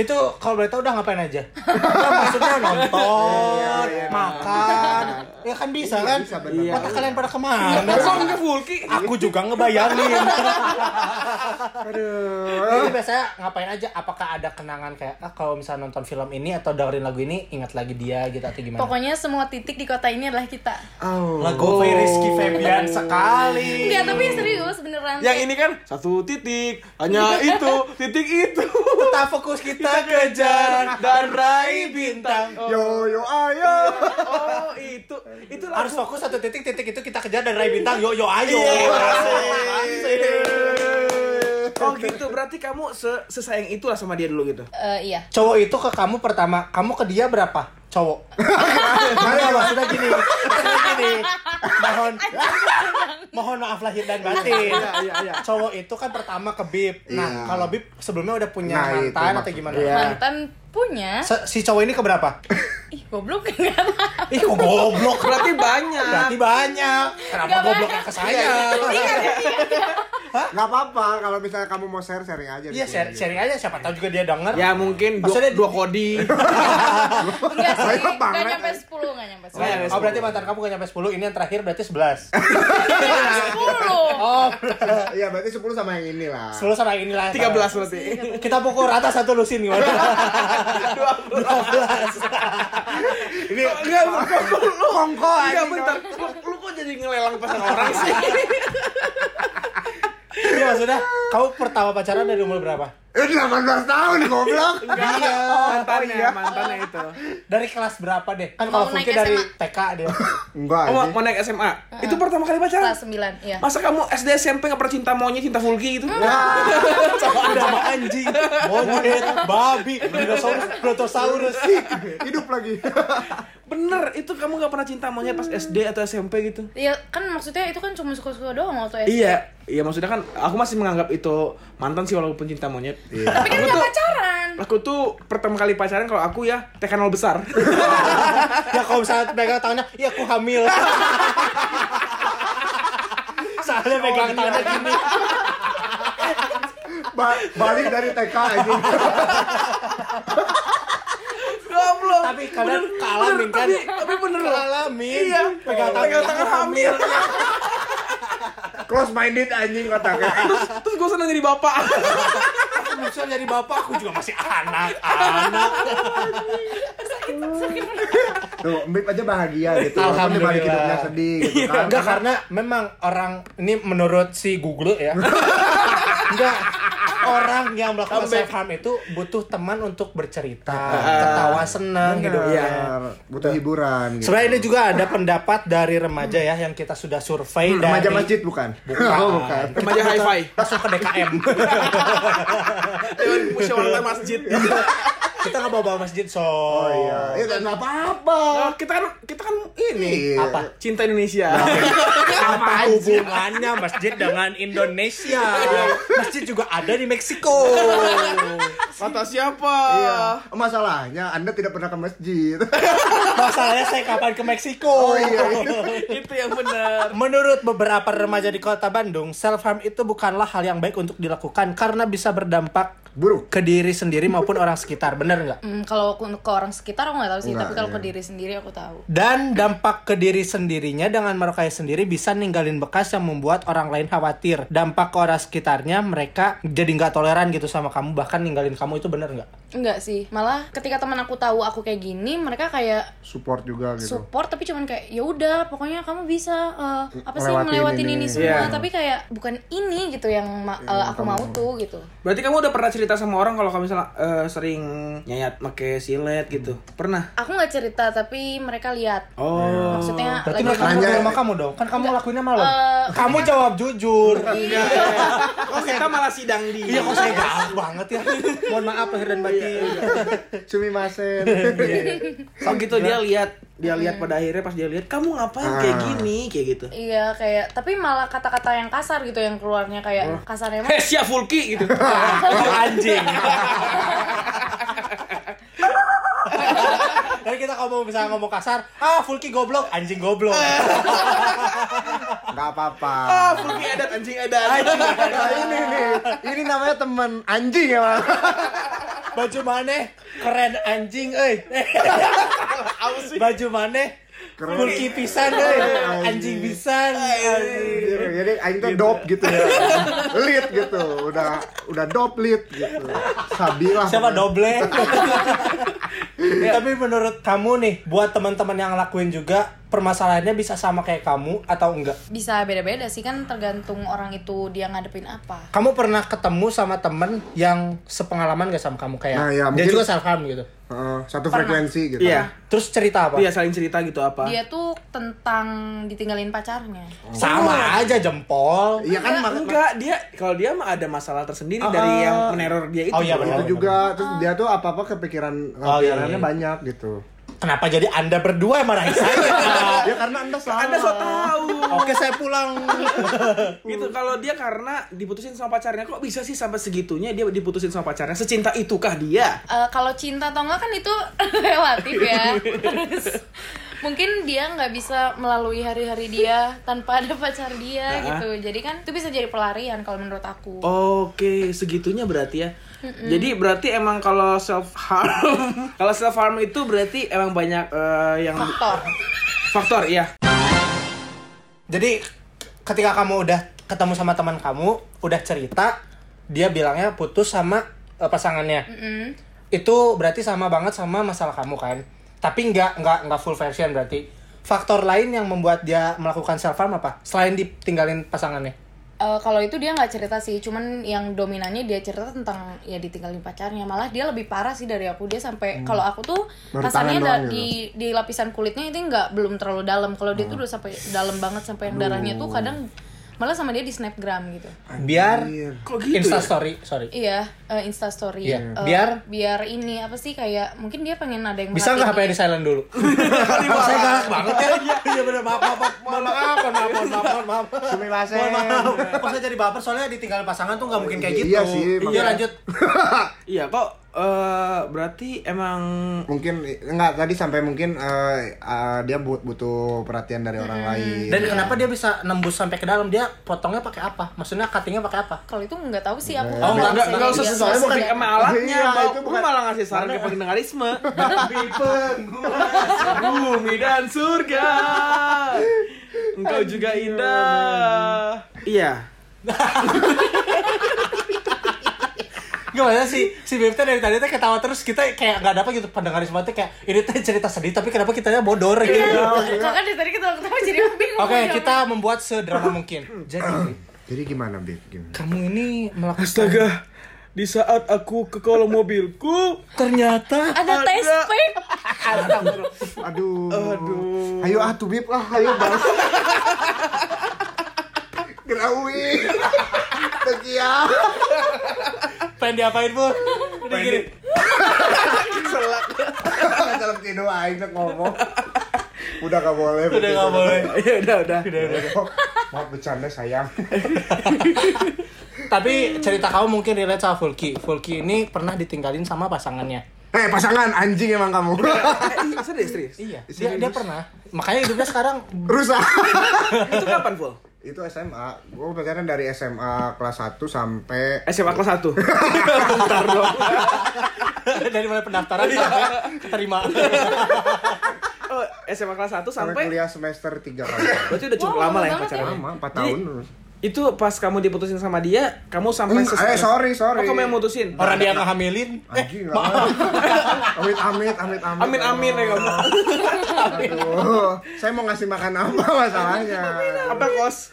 Speaker 5: Itu kalau boleh tahu udah ngapain aja? Nah, maksudnya
Speaker 3: Iya,
Speaker 5: nonton, makan. Ya kan bisa
Speaker 3: Iya,
Speaker 5: kan?
Speaker 3: bisa, bener.
Speaker 5: Mata kalian pada kemana?
Speaker 4: Soalnya Fulki.
Speaker 5: Aku juga ngebayangin.
Speaker 3: Aduh.
Speaker 5: Jadi biasanya ngapain aja? Apakah ada kenangan kayak ah, kalau misalnya nonton film ini atau dengerin lagu ini ingat lagi dia gitu atau
Speaker 3: Iya.
Speaker 5: gimana?
Speaker 6: Pokoknya semua titik di kota ini adalah kita.
Speaker 3: Oh.
Speaker 5: lagu Ferry Rizky Febian sekali.
Speaker 6: Enggak, tapi serius beneran.
Speaker 4: Yang ini kan satu titik, hanya itu, titik itu.
Speaker 5: Tetap fokus kita kejar dan raih bintang.
Speaker 3: Yo yo ayo.
Speaker 4: Oh, itu. Itu
Speaker 5: Harus fokus satu titik titik itu kita kejar dan raih bintang. Yo yo ayo. Iya, Asik.
Speaker 4: Oh gitu, berarti kamu se- sesayang itulah sama dia dulu gitu.
Speaker 6: Eh, iya.
Speaker 5: Cowok itu ke kamu pertama, kamu ke dia berapa? Cowok. Enggak maksudnya gini. Maksudnya gini. Mohon mohon maaf lahir dan batin. Cowok itu kan pertama ke Bib.
Speaker 3: Iya.
Speaker 5: Nah, kalau Bib sebelumnya udah punya
Speaker 3: Nah, itu
Speaker 5: mantan atau
Speaker 3: maksud-
Speaker 5: gimana?
Speaker 6: Mantan punya.
Speaker 5: Se- Si cowok ini ke berapa?
Speaker 6: Ih, goblok enggak.
Speaker 5: Ih, kok goblok.
Speaker 4: Berarti banyak.
Speaker 5: Berarti banyak. Kenapa
Speaker 6: Nggak
Speaker 5: gobloknya ke
Speaker 6: Iya,
Speaker 5: saya?
Speaker 3: Gak apa-apa kalau misalnya kamu mau share sharing aja. di
Speaker 5: Iya,
Speaker 3: sini
Speaker 5: share-
Speaker 3: gitu.
Speaker 5: sharing aja siapa tahu juga dia denger.
Speaker 4: Ya mungkin dua,
Speaker 5: Maksudnya-
Speaker 4: dua kodi.
Speaker 6: Enggak Iya sih.
Speaker 3: Saya
Speaker 6: Enggak
Speaker 3: banget.
Speaker 6: nyampe 10, enggak nyampe
Speaker 4: Saya nyampe
Speaker 5: Oh, berarti mantan kamu gak nyampe 10, ini yang terakhir berarti 11.
Speaker 3: Nah.
Speaker 6: 10. 10.
Speaker 5: Oh,
Speaker 3: Iya, berarti 10 sama yang ini lah.
Speaker 5: 10 sama ini lah.
Speaker 4: 13 berarti.
Speaker 5: Kita pukul rata satu lusin gimana? 12.
Speaker 3: Ini
Speaker 4: Enggak, kok lu
Speaker 3: kongko
Speaker 4: Enggak,
Speaker 5: Iya,
Speaker 3: aja.
Speaker 4: Iya, bentar. Lu, lu kok jadi ngelelang pasang orang sih?
Speaker 5: Ini maksudnya, kamu pertama pacaran dari umur berapa?
Speaker 3: Eh, Dia 18 tahun goblok. Iya.
Speaker 4: Iya. mantannya, mantannya itu.
Speaker 5: Dari kelas berapa deh? Kan kalau
Speaker 6: Mau
Speaker 5: Fulki
Speaker 6: naik
Speaker 5: dari
Speaker 6: SMA.
Speaker 5: TK dia.
Speaker 3: Enggak.
Speaker 4: Oh, mau-
Speaker 3: ini.
Speaker 4: mau naik SMA. Itu pertama kali pacaran.
Speaker 6: kelas 9 iya
Speaker 4: Masa kamu SD SMP gak pernah cinta maunya cinta Fulgi gitu?
Speaker 3: Ya.
Speaker 5: Sama sama anjing, monyet, babi, dinosaurus, protosaurus.
Speaker 3: Hidup lagi.
Speaker 4: Bener, itu kamu gak pernah cinta maunya pas SD atau SMP gitu?
Speaker 6: Iya kan maksudnya itu kan cuma suka-suka doang waktu SD.
Speaker 4: Iya, iya maksudnya kan aku masih menganggap itu mantan sih walaupun cinta monyet.
Speaker 6: Tapi kan
Speaker 4: Aku
Speaker 6: gak
Speaker 4: tuh-
Speaker 6: pacaran.
Speaker 4: Aku tuh pertama kali pacaran kalau aku ya tekanol besar.
Speaker 5: Ya kalau misalnya pegang tangannya, ya aku hamil.
Speaker 4: Oh,
Speaker 5: Soalnya
Speaker 4: iya.
Speaker 5: pegang tangannya gini.
Speaker 3: Ba- balik dari TK aja.
Speaker 4: Goblok.
Speaker 5: Tapi kalian kealamin kan?
Speaker 4: Tapi, tapi bener loh.
Speaker 5: Kealamin.
Speaker 4: Iya,
Speaker 5: Pegang tangan.
Speaker 4: pegang tangan hamil.
Speaker 3: Close minded anjing otaknya.
Speaker 4: terus terus gue senang jadi bapak.
Speaker 5: Aku bisa jadi bapak, aku juga masih anak, anak.
Speaker 3: Tuh, Mbip aja bahagia gitu. Walaupun dia balik
Speaker 5: Alhamdulillah.
Speaker 3: hidupnya sedih gitu
Speaker 4: Iya.
Speaker 3: kan.
Speaker 5: Enggak karena memang orang ini menurut si Google ya. Enggak orang yang melakukan self harm itu butuh teman untuk bercerita,
Speaker 3: Ah.
Speaker 5: ketawa senang hidupnya.
Speaker 3: Benar, ya, butuh hiburan gitu.
Speaker 5: Sebenarnya ini juga ada pendapat dari remaja ya yang kita sudah survei
Speaker 3: Hmm,
Speaker 5: dari
Speaker 3: Remaja masjid bukan?
Speaker 5: Bukan.
Speaker 3: Oh, bukan.
Speaker 4: Remaja hi-fi.
Speaker 5: masuk ke DKM.
Speaker 4: Dewan musyawarah masjid.
Speaker 5: kita nggak bawa bawa masjid so.
Speaker 3: Oh iya. Ya enggak apa-apa.
Speaker 4: Nah, kita kan kita kan ini
Speaker 3: Iya.
Speaker 5: Apa?
Speaker 4: cinta Indonesia.
Speaker 5: Apa hubungannya masjid dengan Indonesia? Masjid juga ada di Meksiko.
Speaker 4: Kata siapa?
Speaker 3: Iya. Masalahnya Anda tidak pernah ke masjid.
Speaker 5: Masalahnya saya kapan ke Meksiko?
Speaker 3: Oh iya.
Speaker 4: Itu yang bener.
Speaker 5: Menurut beberapa remaja di kota Bandung, self harm itu bukanlah hal yang baik untuk dilakukan karena bisa berdampak
Speaker 3: Buruk.
Speaker 5: ke diri sendiri maupun orang sekitar, bener nggak?
Speaker 6: Hmm, kalau aku ke orang sekitar aku nggak tahu sih,
Speaker 3: Nggak,
Speaker 6: tapi kalau
Speaker 3: iya.
Speaker 6: ke diri sendiri aku tahu.
Speaker 5: Dan dampak ke diri sendirinya dengan merokai sendiri bisa ninggalin bekas yang membuat orang lain khawatir. Dampak ke orang sekitarnya mereka jadi nggak toleran gitu sama kamu, bahkan ninggalin kamu itu bener nggak?
Speaker 6: Enggak sih, malah ketika teman aku tahu aku kayak gini, mereka kayak
Speaker 3: Support juga gitu.
Speaker 6: support tapi cuman kayak ya udah pokoknya kamu bisa eh, apa sih
Speaker 3: Ngelewatin
Speaker 6: ngelewatin
Speaker 3: ini. Iya,
Speaker 6: ini, semua
Speaker 4: Iya.
Speaker 6: tapi kayak bukan ini gitu yang ma- eh, aku mau tuh gitu
Speaker 4: Berarti kamu udah pernah cerita sama orang kalau kamu misalnya eh, sering nyayat make silet gitu? Pernah?
Speaker 6: aku nggak cerita tapi mereka lihat
Speaker 4: Oh.
Speaker 6: maksudnya
Speaker 5: Berarti
Speaker 6: lagi
Speaker 5: mereka
Speaker 3: Tanya-
Speaker 5: ngobrol sama kamu dong, kan kamu lakuinnya malam.
Speaker 6: Eh, Iya.
Speaker 5: kamu jawab jujur.
Speaker 4: Kok Oh, kita malah sidang di.
Speaker 5: Iya kok saya galak banget ya. Mohon maaf lahir dan
Speaker 4: Iya,
Speaker 5: batin.
Speaker 3: Cumi masen.
Speaker 5: Iya,
Speaker 4: Kalau gitu dia lihat, dia lihat pada akhirnya pas dia lihat kamu ngapain kayak gini, kayak gitu.
Speaker 6: iya kayak tapi malah kata-kata yang kasar gitu yang keluarnya kayak kasarnya mah
Speaker 4: Heh, siap Fulki gitu.
Speaker 5: Itu anjing. Tadi kita ngomong bisa ngomong kasar, ah Fulki goblok, anjing goblok.
Speaker 6: Eh.
Speaker 3: Enggak apa-apa.
Speaker 4: Ah, Fulki adat anjing adat.
Speaker 3: Nah, ini nih. Ini namanya teman anjing ya, Bang.
Speaker 5: Baju maneh keren anjing euy. Baju maneh
Speaker 3: Keren.
Speaker 5: Fulki pisan euy, anjing pisan. Iya.
Speaker 3: Jadi aing tuh dope gitu ya. Lead gitu. Udah udah dope lead gitu. Sabilah.
Speaker 5: Siapa
Speaker 3: pokoknya.
Speaker 5: doble? Ya, Tapi menurut kamu nih, buat teman-teman yang lakuin juga permasalahannya bisa sama kayak kamu atau enggak?
Speaker 6: bisa beda-beda sih kan tergantung orang itu dia ngadepin apa
Speaker 5: Kamu pernah ketemu sama temen yang sepengalaman gak sama kamu kayak
Speaker 3: Nah, ya,
Speaker 5: dia
Speaker 3: mungkin-
Speaker 5: juga self harm gitu.
Speaker 3: Heeh, satu frekuensi gitu.
Speaker 4: Iya.
Speaker 5: Terus cerita apa?
Speaker 4: Dia saling cerita gitu apa?
Speaker 6: dia tuh tentang ditinggalin pacarnya
Speaker 5: Sama aja jempol.
Speaker 3: Iya kan mak-
Speaker 4: enggak dia kalau dia mah ada masalah tersendiri dari yang meneror dia itu.
Speaker 5: Oh, iya,
Speaker 4: Bro.
Speaker 5: benar.
Speaker 3: itu juga terus dia tuh apa-apa kepikiran
Speaker 5: Oh, iya,
Speaker 3: kepikirannya
Speaker 5: iya.
Speaker 3: banyak gitu.
Speaker 5: Kenapa jadi Anda berdua yang marahin saya?
Speaker 3: Ya karena Anda salah.
Speaker 4: Anda so tahu.
Speaker 5: Oke, saya pulang.
Speaker 4: gitu kalau dia karena diputusin sama pacarnya kok bisa sih sampai segitunya dia diputusin sama pacarnya secinta itukah dia
Speaker 6: Eh, kalau cinta atau enggak kan itu relatif ya Terus, mungkin dia nggak bisa melalui hari-hari dia tanpa ada pacar dia gitu jadi kan itu bisa jadi pelarian kalau menurut aku
Speaker 4: Oh. Oke, segitunya berarti ya. Jadi berarti emang kalau self harm, kalau self harm itu berarti emang banyak eh, yang
Speaker 6: faktor
Speaker 4: faktor ya.
Speaker 5: Jadi ketika kamu udah ketemu sama teman kamu, udah cerita, dia bilangnya putus sama eh, pasangannya. Itu berarti sama banget sama masalah kamu kan. Tapi nggak nggak nggak full version berarti. Faktor lain yang membuat dia melakukan self harm apa? Selain ditinggalin pasangannya.
Speaker 6: eh, kalau itu dia nggak cerita sih, cuman yang dominannya dia cerita tentang ya ditinggalin pacarnya. Malah dia lebih parah sih dari aku. Dia sampai kalau aku tuh
Speaker 3: Baru
Speaker 6: rasanya
Speaker 3: tangan
Speaker 6: da-
Speaker 3: doang
Speaker 6: di di lapisan kulitnya itu nggak belum terlalu dalam. Kalau dia tuh udah sampai dalam banget sampai yang darahnya tuh kadang malah sama dia di snapgram gitu.
Speaker 5: biar Insta story, sorry.
Speaker 6: Iya, eh, instastory.
Speaker 5: Iya.
Speaker 6: Eh,
Speaker 5: Biar-
Speaker 6: biar ini apa sih kayak mungkin dia pengen ada yang
Speaker 5: Bisa nggak HP di
Speaker 6: merhatiin dia.
Speaker 5: silent dulu? Kok saya galak banget ya? Iya benar maaf maaf maaf mohon maaf mohon maaf mohon maaf mohon maaf.
Speaker 4: Terima kasih.
Speaker 5: Mohon maaf. Kok saya jadi baper soalnya ditinggal pasangan tuh nggak mungkin kayak gitu.
Speaker 3: Iya sih,
Speaker 5: Iya, Iya
Speaker 3: makanya.
Speaker 5: lanjut.
Speaker 4: Iya kok eh, berarti emang
Speaker 3: mungkin enggak tadi sampai mungkin eh, eh, dia bu- butuh perhatian dari orang
Speaker 5: Hmm.
Speaker 3: lain
Speaker 5: Dan kenapa dia bisa nembus sampai ke dalam? Dia potongnya pakai apa? Maksudnya cuttingnya pakai apa?
Speaker 6: Kalau itu nggak tahu sih aku.
Speaker 5: Oh, nggak-
Speaker 4: nggak
Speaker 5: nggak-
Speaker 4: nggak usah ya?
Speaker 6: Iya,
Speaker 4: sesuai
Speaker 3: bukan-
Speaker 4: sama alatnya.
Speaker 3: Iya,
Speaker 4: Bang.
Speaker 3: itu
Speaker 4: Lu
Speaker 3: bukan-
Speaker 4: malah ngasih saran ke pendengarisme. Bumi dan surga. Engkau juga indah. Iya.
Speaker 5: Gimana sih si Bebta dari tadi teh ketawa terus kita kayak nggak ada apa gitu pendengar semua tuh kayak ini teh cerita sedih tapi kenapa kitanya bodor gitu.
Speaker 6: Kakak dari tadi ketawa-ketawa jadi aku bingung.
Speaker 5: Oke,
Speaker 6: mau jawab.
Speaker 5: kita membuat sederhana mungkin. Jadi,
Speaker 3: jadi gimana Beb gimana
Speaker 5: kamu ini melakukan
Speaker 4: Astaga. Di saat aku ke kolong mobilku, ternyata
Speaker 6: ada test pack.
Speaker 3: aduh aduh ayo ah tuh Beb lah ayo bang Gerawi, ya. Tegia,
Speaker 5: pengen diapain, Bu? Udah gini.
Speaker 3: selak, nggak selak tidur aja ngomong, udah gak boleh,
Speaker 5: Udah nggak boleh.
Speaker 4: Ya udah udah.
Speaker 3: maaf bercanda sayang,
Speaker 5: Tapi cerita kamu mungkin relate sama Fulki. Fulki ini pernah ditinggalin sama pasangannya.
Speaker 3: eh pasangan anjing emang kamu,
Speaker 4: Eh, serius serius.
Speaker 5: Iya. Dia, dia pernah. Makanya hidupnya sekarang
Speaker 3: rusak.
Speaker 4: Itu kapan, Full?
Speaker 3: itu SMA gue pacaran dari SMA kelas 1 sampai
Speaker 4: SMA kelas 1. Bentar dong.
Speaker 5: dari mulai pendaftaran
Speaker 3: Iya.
Speaker 5: sampai keterima.
Speaker 4: Oh, SMA kelas 1
Speaker 3: sampai
Speaker 4: sampai
Speaker 3: kuliah semester 3 kali
Speaker 4: berarti udah cukup
Speaker 6: Wow,
Speaker 4: lama lah ya
Speaker 6: lama banget
Speaker 4: pacaran.
Speaker 3: lama 4
Speaker 4: Jadi,
Speaker 3: tahun
Speaker 4: Itu pas kamu diputusin sama dia, kamu
Speaker 3: Hmm,
Speaker 4: sampai sesuai-
Speaker 3: eh, sorry, sorry.
Speaker 4: Oh, kamu yang mutusin.
Speaker 5: Orang dia ngehamilin. Eh,
Speaker 3: anjing nggak amit amit amit amit
Speaker 4: Amin amin ya kamu.
Speaker 3: Aduh, saya mau ngasih makan apa masalahnya
Speaker 4: Apa kos?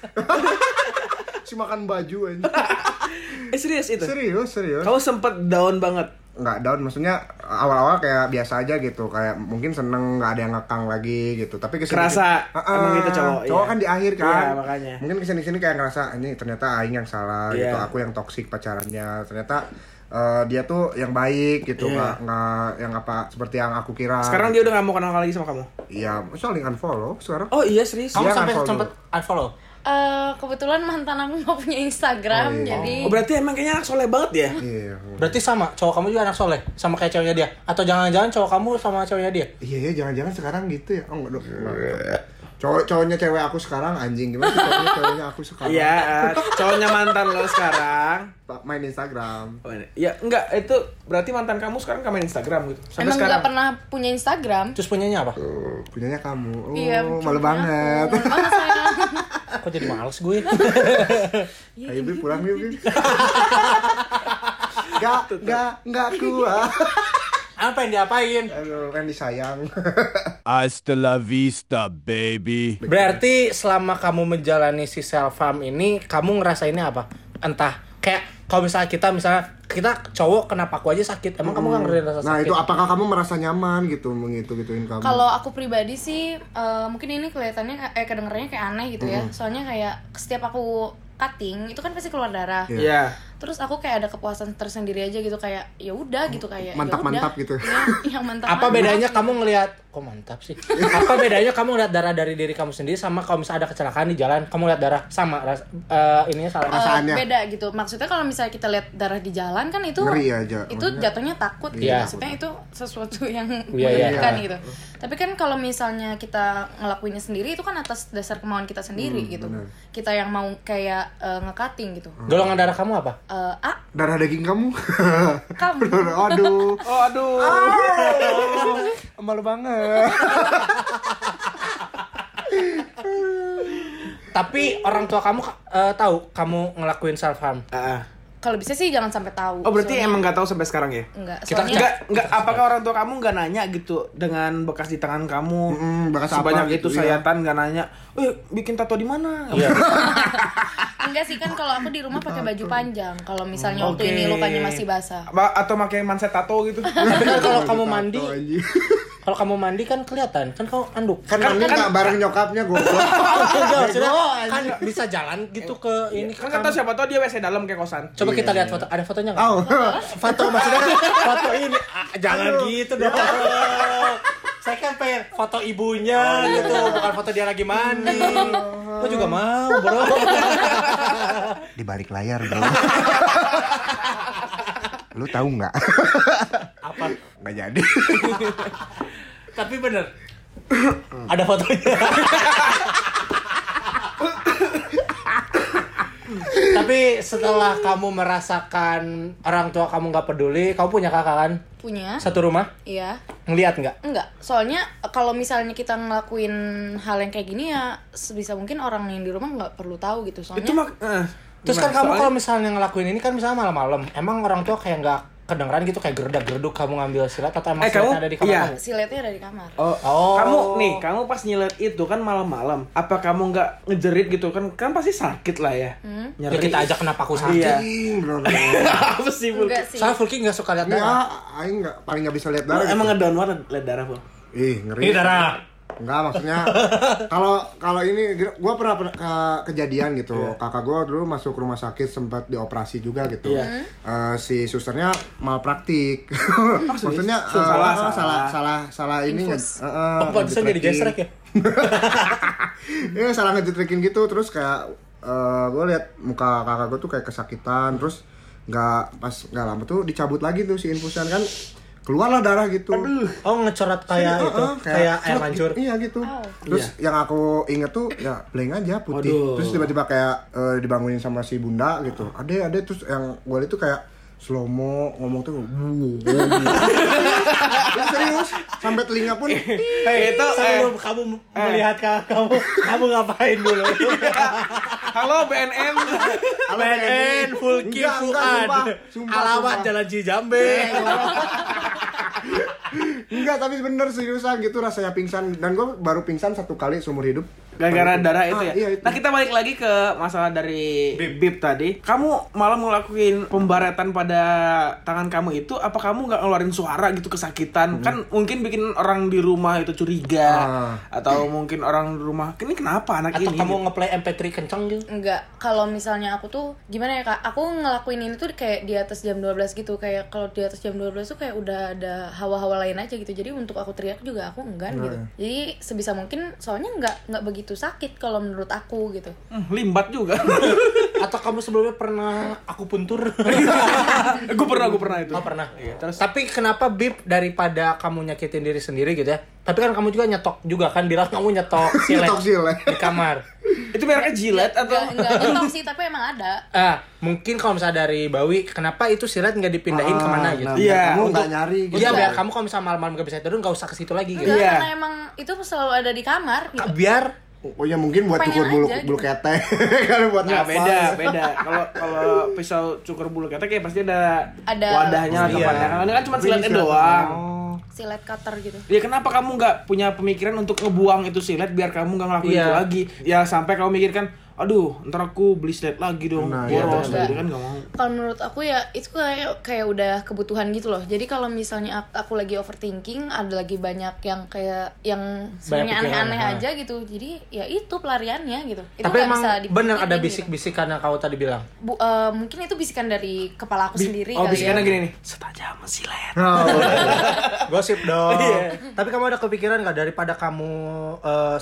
Speaker 3: si makan baju aja
Speaker 4: Eh serius itu.
Speaker 3: serius serius
Speaker 4: Kamu sempet down banget.
Speaker 3: nggak down maksudnya awal-awal kayak biasa aja gitu kayak mungkin seneng nggak ada yang ngekang lagi gitu tapi kesini
Speaker 4: Kerasa,
Speaker 3: Ah,
Speaker 4: emang gitu cowok,
Speaker 3: cowok
Speaker 4: iya.
Speaker 3: kan di akhir kan
Speaker 4: Iya, makanya.
Speaker 3: mungkin kesini sini kayak ngerasa ini ternyata aing yang salah
Speaker 4: Iya.
Speaker 3: gitu aku yang toksik pacarannya ternyata eh, dia tuh yang baik gitu
Speaker 4: Iya.
Speaker 3: nggak nggak yang apa seperti yang aku kira
Speaker 4: Sekarang dia udah gak mau kenal lagi sama kamu.
Speaker 3: ya soalnya unfollow sekarang
Speaker 4: Oh iya serius.
Speaker 5: kamu
Speaker 3: Dia
Speaker 5: sampai
Speaker 3: unfollow.
Speaker 5: sempet unfollow.
Speaker 6: Eh, kebetulan mantan aku nggak punya Instagram,
Speaker 3: Oh, iya.
Speaker 6: jadi
Speaker 4: Oh, berarti emang kayaknya anak soleh banget ya.
Speaker 3: iya
Speaker 5: Berarti sama, cowok kamu juga anak soleh, sama kayak ceweknya dia. Atau jangan-jangan cowok kamu sama ceweknya dia.
Speaker 3: iya iya, jangan-jangan sekarang gitu ya oh enggak dong cowok cowoknya cewek aku sekarang anjing gimana sih cowoknya ceweknya aku sekarang
Speaker 4: Iya, eh, cowoknya mantan lo sekarang.
Speaker 3: main Instagram
Speaker 4: Oh, ini- Ya enggak, itu berarti mantan kamu sekarang kamu main Instagram gitu. Sampai
Speaker 6: emang
Speaker 4: sekarang.
Speaker 6: nggak pernah punya Instagram.
Speaker 5: Terus punyanya apa?
Speaker 3: Tuh, punyanya kamu oh,
Speaker 6: Iya,
Speaker 3: malu
Speaker 6: cuma
Speaker 3: banget
Speaker 6: aku. Malu banget sayang.
Speaker 5: Kok jadi males gue?
Speaker 3: Ayo Bib pulang yuk Bib Gak, gak, gak kuat
Speaker 5: apa yang diapain?
Speaker 3: Aduh, kan disayang
Speaker 7: Hasta la vista, baby.
Speaker 5: Berarti selama kamu menjalani si self harm ini, kamu ngerasainnya apa? Entah kayak kalau misalnya kita misalnya kita cowok kenapa aku aja sakit? Emang kamu nggak ngerasain rasa sakit?
Speaker 3: Nah itu apakah kamu merasa nyaman gitu mengitu-gituin kamu?
Speaker 6: Kalau aku pribadi sih, eh, mungkin ini kelihatannya eh kedengarannya kayak aneh gitu ya. Soalnya kayak setiap aku cutting itu kan pasti keluar darah.
Speaker 3: Iya.
Speaker 4: Iya.
Speaker 6: Terus aku kayak ada kepuasan tersendiri aja gitu kayak ya udah gitu kayak ya
Speaker 3: Mantap-mantap
Speaker 6: udah.
Speaker 3: gitu.
Speaker 6: Iya, yang mantap.
Speaker 5: apa bedanya kamu ngelihat kok mantap sih apa bedanya kamu ngelihat darah dari diri kamu sendiri sama kalau misalnya ada kecelakaan di jalan kamu lihat darah sama ras, eh, ininya salah
Speaker 6: Eh,
Speaker 5: rasa
Speaker 3: Perasaannya.
Speaker 6: beda gitu maksudnya kalau misalnya kita lihat darah di jalan kan itu
Speaker 3: Ngeri aja,
Speaker 6: itu
Speaker 3: maksudnya.
Speaker 6: jatuhnya takut gitu.
Speaker 5: Iya.
Speaker 6: maksudnya itu sesuatu yang
Speaker 5: Iya, iya.
Speaker 6: menakutkan gitu tapi kan kalau misalnya kita ngelakuinnya sendiri itu kan atas dasar kemauan kita sendiri gitu kita yang mau kayak eh, ngekating gitu
Speaker 5: golongan darah kamu apa
Speaker 6: Eh, ah
Speaker 3: Darah daging kamu?
Speaker 6: kamu
Speaker 3: Aduh,
Speaker 4: Oh, aduh.
Speaker 3: malu banget
Speaker 5: tapi orang tua kamu eh, tahu kamu ngelakuin self harm
Speaker 4: Ah, ah.
Speaker 6: kalau bisa sih jangan sampai tahu.
Speaker 4: Oh berarti
Speaker 6: Soalnya-
Speaker 4: emang nggak tahu sampai sekarang ya?
Speaker 6: enggak.
Speaker 5: Kita-
Speaker 6: Soalnya
Speaker 4: Enggak, enggak. Apakah orang tua kamu nggak nanya gitu dengan bekas di tangan kamu?
Speaker 3: Mm-mm, bekas apa
Speaker 4: sebanyak
Speaker 3: gitu,
Speaker 4: itu
Speaker 3: iya.
Speaker 5: ya.
Speaker 4: sayatan nggak nanya. Eh bikin tato di mana?
Speaker 5: Iya.
Speaker 6: enggak sih kan kalau aku di rumah pakai baju panjang. Kalau misalnya waktu
Speaker 4: Oke.
Speaker 6: ini lukanya masih basah.
Speaker 4: Ba- atau pakai manset tato gitu?
Speaker 5: Kan kalau kamu
Speaker 3: Tato,
Speaker 5: mandi,
Speaker 3: anjing.
Speaker 5: kalau kamu mandi kan kelihatan, kan kamu anduk. Kan
Speaker 3: Kan
Speaker 5: mandi
Speaker 3: nggak bareng nyokapnya goblok.
Speaker 5: Enggak, maksudnya kan bisa jalan gitu ke ini ke
Speaker 4: kan nggak tahu
Speaker 5: kamar.
Speaker 4: siapa tahu dia WC dalam kayak kosan.
Speaker 5: Coba kita lihat foto, ada fotonya nggak?
Speaker 3: Oh.
Speaker 5: Foto maksudnya kan foto ini Ah, jangan gitu dong. Saya kan pengen foto ibunya gitu, bukan foto dia lagi mandi. Gue juga mau, bro.
Speaker 8: di balik layar bro lu tahu nggak
Speaker 5: Apa?
Speaker 8: nggak jadi
Speaker 5: Tapi bener. ada fotonya. Tapi setelah kamu merasakan orang tua kamu nggak peduli, kamu punya kakak kan?
Speaker 6: Punya?
Speaker 5: Satu rumah?
Speaker 6: Iya.
Speaker 5: Ngeliat nggak?
Speaker 6: Enggak, soalnya eh, kalau misalnya kita ngelakuin hal yang kayak gini ya sebisa mungkin orang yang di rumah nggak perlu tahu gitu soalnya.
Speaker 4: Itu mah eh,
Speaker 5: Terus
Speaker 4: gimana?
Speaker 5: kan kamu
Speaker 4: Soalnya-
Speaker 5: kalau misalnya ngelakuin ini kan misalnya malam-malam, emang orang tua kayak nggak kedengeran gitu kayak gerdak-gerduk kamu ngambil silat atau emang
Speaker 4: Eh, kamu-
Speaker 5: silatnya ada di kamar
Speaker 4: iya.
Speaker 5: kamu?
Speaker 6: Siletnya dari kamar.
Speaker 4: Oh,
Speaker 5: Oh.
Speaker 4: kamu nih, kamu pas nyilet itu kan malam-malam. Apa kamu nggak ngejerit gitu kan? Kan pasti sakit lah ya.
Speaker 5: Ya kita ajak kenapa aku sakit?
Speaker 4: Iya.
Speaker 3: Anjing, bro.
Speaker 4: Apa sih, Bu?
Speaker 6: Enggak sih.
Speaker 5: Soalnya Fulki nggak suka lihat
Speaker 3: Ini
Speaker 5: darah.
Speaker 3: ah, aing nggak paling nggak bisa lihat
Speaker 4: Lu
Speaker 3: darah.
Speaker 4: emang
Speaker 3: gitu.
Speaker 4: ngedown banget liat darah, Bu.
Speaker 3: Ih, ngeri.
Speaker 5: Ini darah.
Speaker 3: Enggak maksudnya kalau kalau ini gue pernah, pernah ke- kejadian gitu
Speaker 5: Iya.
Speaker 3: kakak gue dulu masuk rumah sakit sempat dioperasi juga gitu
Speaker 5: Iya.
Speaker 3: Eh, si susternya malpraktik maksudnya
Speaker 4: Su-
Speaker 3: eh,
Speaker 4: salah,
Speaker 3: eh,
Speaker 4: salah.
Speaker 3: salah salah salah ini eh, eh,
Speaker 5: Oh, pantesan jadi
Speaker 3: ngejeplekin.
Speaker 5: gesrek ya?
Speaker 3: Iya salah ngejetrekin gitu terus kayak gue lihat muka kakak gue tuh kayak kesakitan terus nggak pas nggak lama tuh dicabut lagi tuh si infusan kan keluarlah darah gitu
Speaker 5: Oh, ngecoret kayak
Speaker 3: Iya,
Speaker 5: itu,
Speaker 3: eh,
Speaker 5: kayak air
Speaker 3: celup
Speaker 5: mancur. Iya.
Speaker 3: gitu. Iya gitu. Terus yang aku inget tuh ya blank aja putih. Terus tiba-tiba kayak eh, dibangunin sama si bunda gitu. Ada ada terus yang gue itu kayak slow mo ngomong tuh wuh, wuh, wuh. Terus serius sampai telinga pun
Speaker 4: Eh, itu eh,
Speaker 5: Sebelum kamu m- melihat kakak kamu, kamu ngapain dulu?
Speaker 4: halo BNN.
Speaker 5: BNN, Fulki,
Speaker 3: Enggak, enggak,
Speaker 5: Fuad,
Speaker 3: sumpah. Sumpah,
Speaker 5: Alamat
Speaker 3: sumpah. Eh,
Speaker 5: Jalan Cijambe.
Speaker 3: enggak tapi bener seriusan gitu rasanya pingsan dan gue baru pingsan satu kali seumur hidup
Speaker 4: Gara-gara darah itu
Speaker 3: Ah,
Speaker 4: ya.
Speaker 3: iya, itu.
Speaker 4: Nah, kita balik lagi ke masalah dari Bib, tadi. Kamu malah ngelakuin pembaratan pada tangan kamu itu apa kamu nggak ngeluarin suara gitu
Speaker 3: Hmm.
Speaker 4: kesakitan? Kan mungkin bikin orang di rumah itu curiga
Speaker 3: Ah.
Speaker 4: atau mungkin orang di rumah ini kenapa anak
Speaker 5: Atau
Speaker 4: ini?
Speaker 5: kamu ngeplay MP3 kenceng gitu?
Speaker 6: Enggak, kalau misalnya aku tuh gimana ya kak, aku ngelakuin ini tuh kayak di atas jam 12 gitu Kayak kalau di atas jam 12 tuh kayak udah ada hawa-hawa lain aja gitu Jadi untuk aku teriak juga aku enggan gitu
Speaker 4: Nah.
Speaker 6: Jadi sebisa mungkin soalnya enggak, enggak begitu sakit kalau menurut aku gitu
Speaker 4: Hmm, limbat juga.
Speaker 5: Atau kamu sebelumnya pernah aku puntur?
Speaker 4: gue Eh, pernah, gue pernah itu.
Speaker 5: Oh pernah. Tapi kenapa bib daripada kamu nyakitin diri sendiri gitu ya? Tapi kan kamu juga nyetok juga kan bilang kamu nyetok silet
Speaker 3: Nyetok silet.
Speaker 5: di kamar.
Speaker 4: Itu mereknya jilat atau
Speaker 6: Enggak, enggak nyetok sih, tapi emang ada
Speaker 5: Ah, mungkin kalau misalnya dari Bawi, kenapa itu silet nggak dipindahin kemana gitu?
Speaker 3: nah,
Speaker 4: Iya,
Speaker 3: kamu
Speaker 4: untuk-
Speaker 3: nggak nyari gitu
Speaker 5: Iya, biar kamu kalau misalnya malam-malam gak bisa tidur nggak usah ke situ lagi gitu. Iya,
Speaker 6: Enggak,
Speaker 4: Iya.
Speaker 6: karena emang itu selalu ada di kamar gitu
Speaker 5: Biar
Speaker 3: oh ya mungkin buat
Speaker 6: Pengen
Speaker 3: cukur bulu
Speaker 6: aja gitu.
Speaker 3: bulu ketek kalau buat
Speaker 4: Nah,
Speaker 3: ngapa.
Speaker 4: beda, beda. Kalau kalau pisau cukur bulu ketek ya pasti ada,
Speaker 6: Ada-
Speaker 4: wadahnya atau tempatnya. Karena kan cuma siletnya doang.
Speaker 6: Silet cutter gitu
Speaker 4: Ya kenapa kamu nggak punya pemikiran untuk ngebuang itu silet biar kamu nggak ngelakuin
Speaker 5: Iya.
Speaker 4: itu lagi? Ya sampai kamu mikirkan, aduh, ntar aku beli silet lagi dong, boros,
Speaker 6: benar.
Speaker 4: gitu kan nggak mau.
Speaker 6: kalau menurut aku ya itu kayak kayak udah kebutuhan gitu loh jadi kalau misalnya ak- aku, lagi overthinking ada lagi banyak yang kayak yang sebenarnya
Speaker 5: pikiran,
Speaker 6: aneh-aneh
Speaker 5: ha.
Speaker 6: aja gitu jadi ya itu pelariannya gitu itu
Speaker 5: Tapi
Speaker 6: nggak
Speaker 5: emang
Speaker 6: bisa dipungkirin
Speaker 5: bener ada
Speaker 6: gitu.
Speaker 5: bisik-bisik karena kau tadi bilang.
Speaker 6: Bu- eh, mungkin itu bisikan dari kepala aku sendiri
Speaker 4: Oh,
Speaker 6: kali ya
Speaker 4: bisikannya gini nih, setajam silet.
Speaker 3: Nah,
Speaker 5: Gosip dong. Tapi kamu ada kepikiran nggak daripada kamu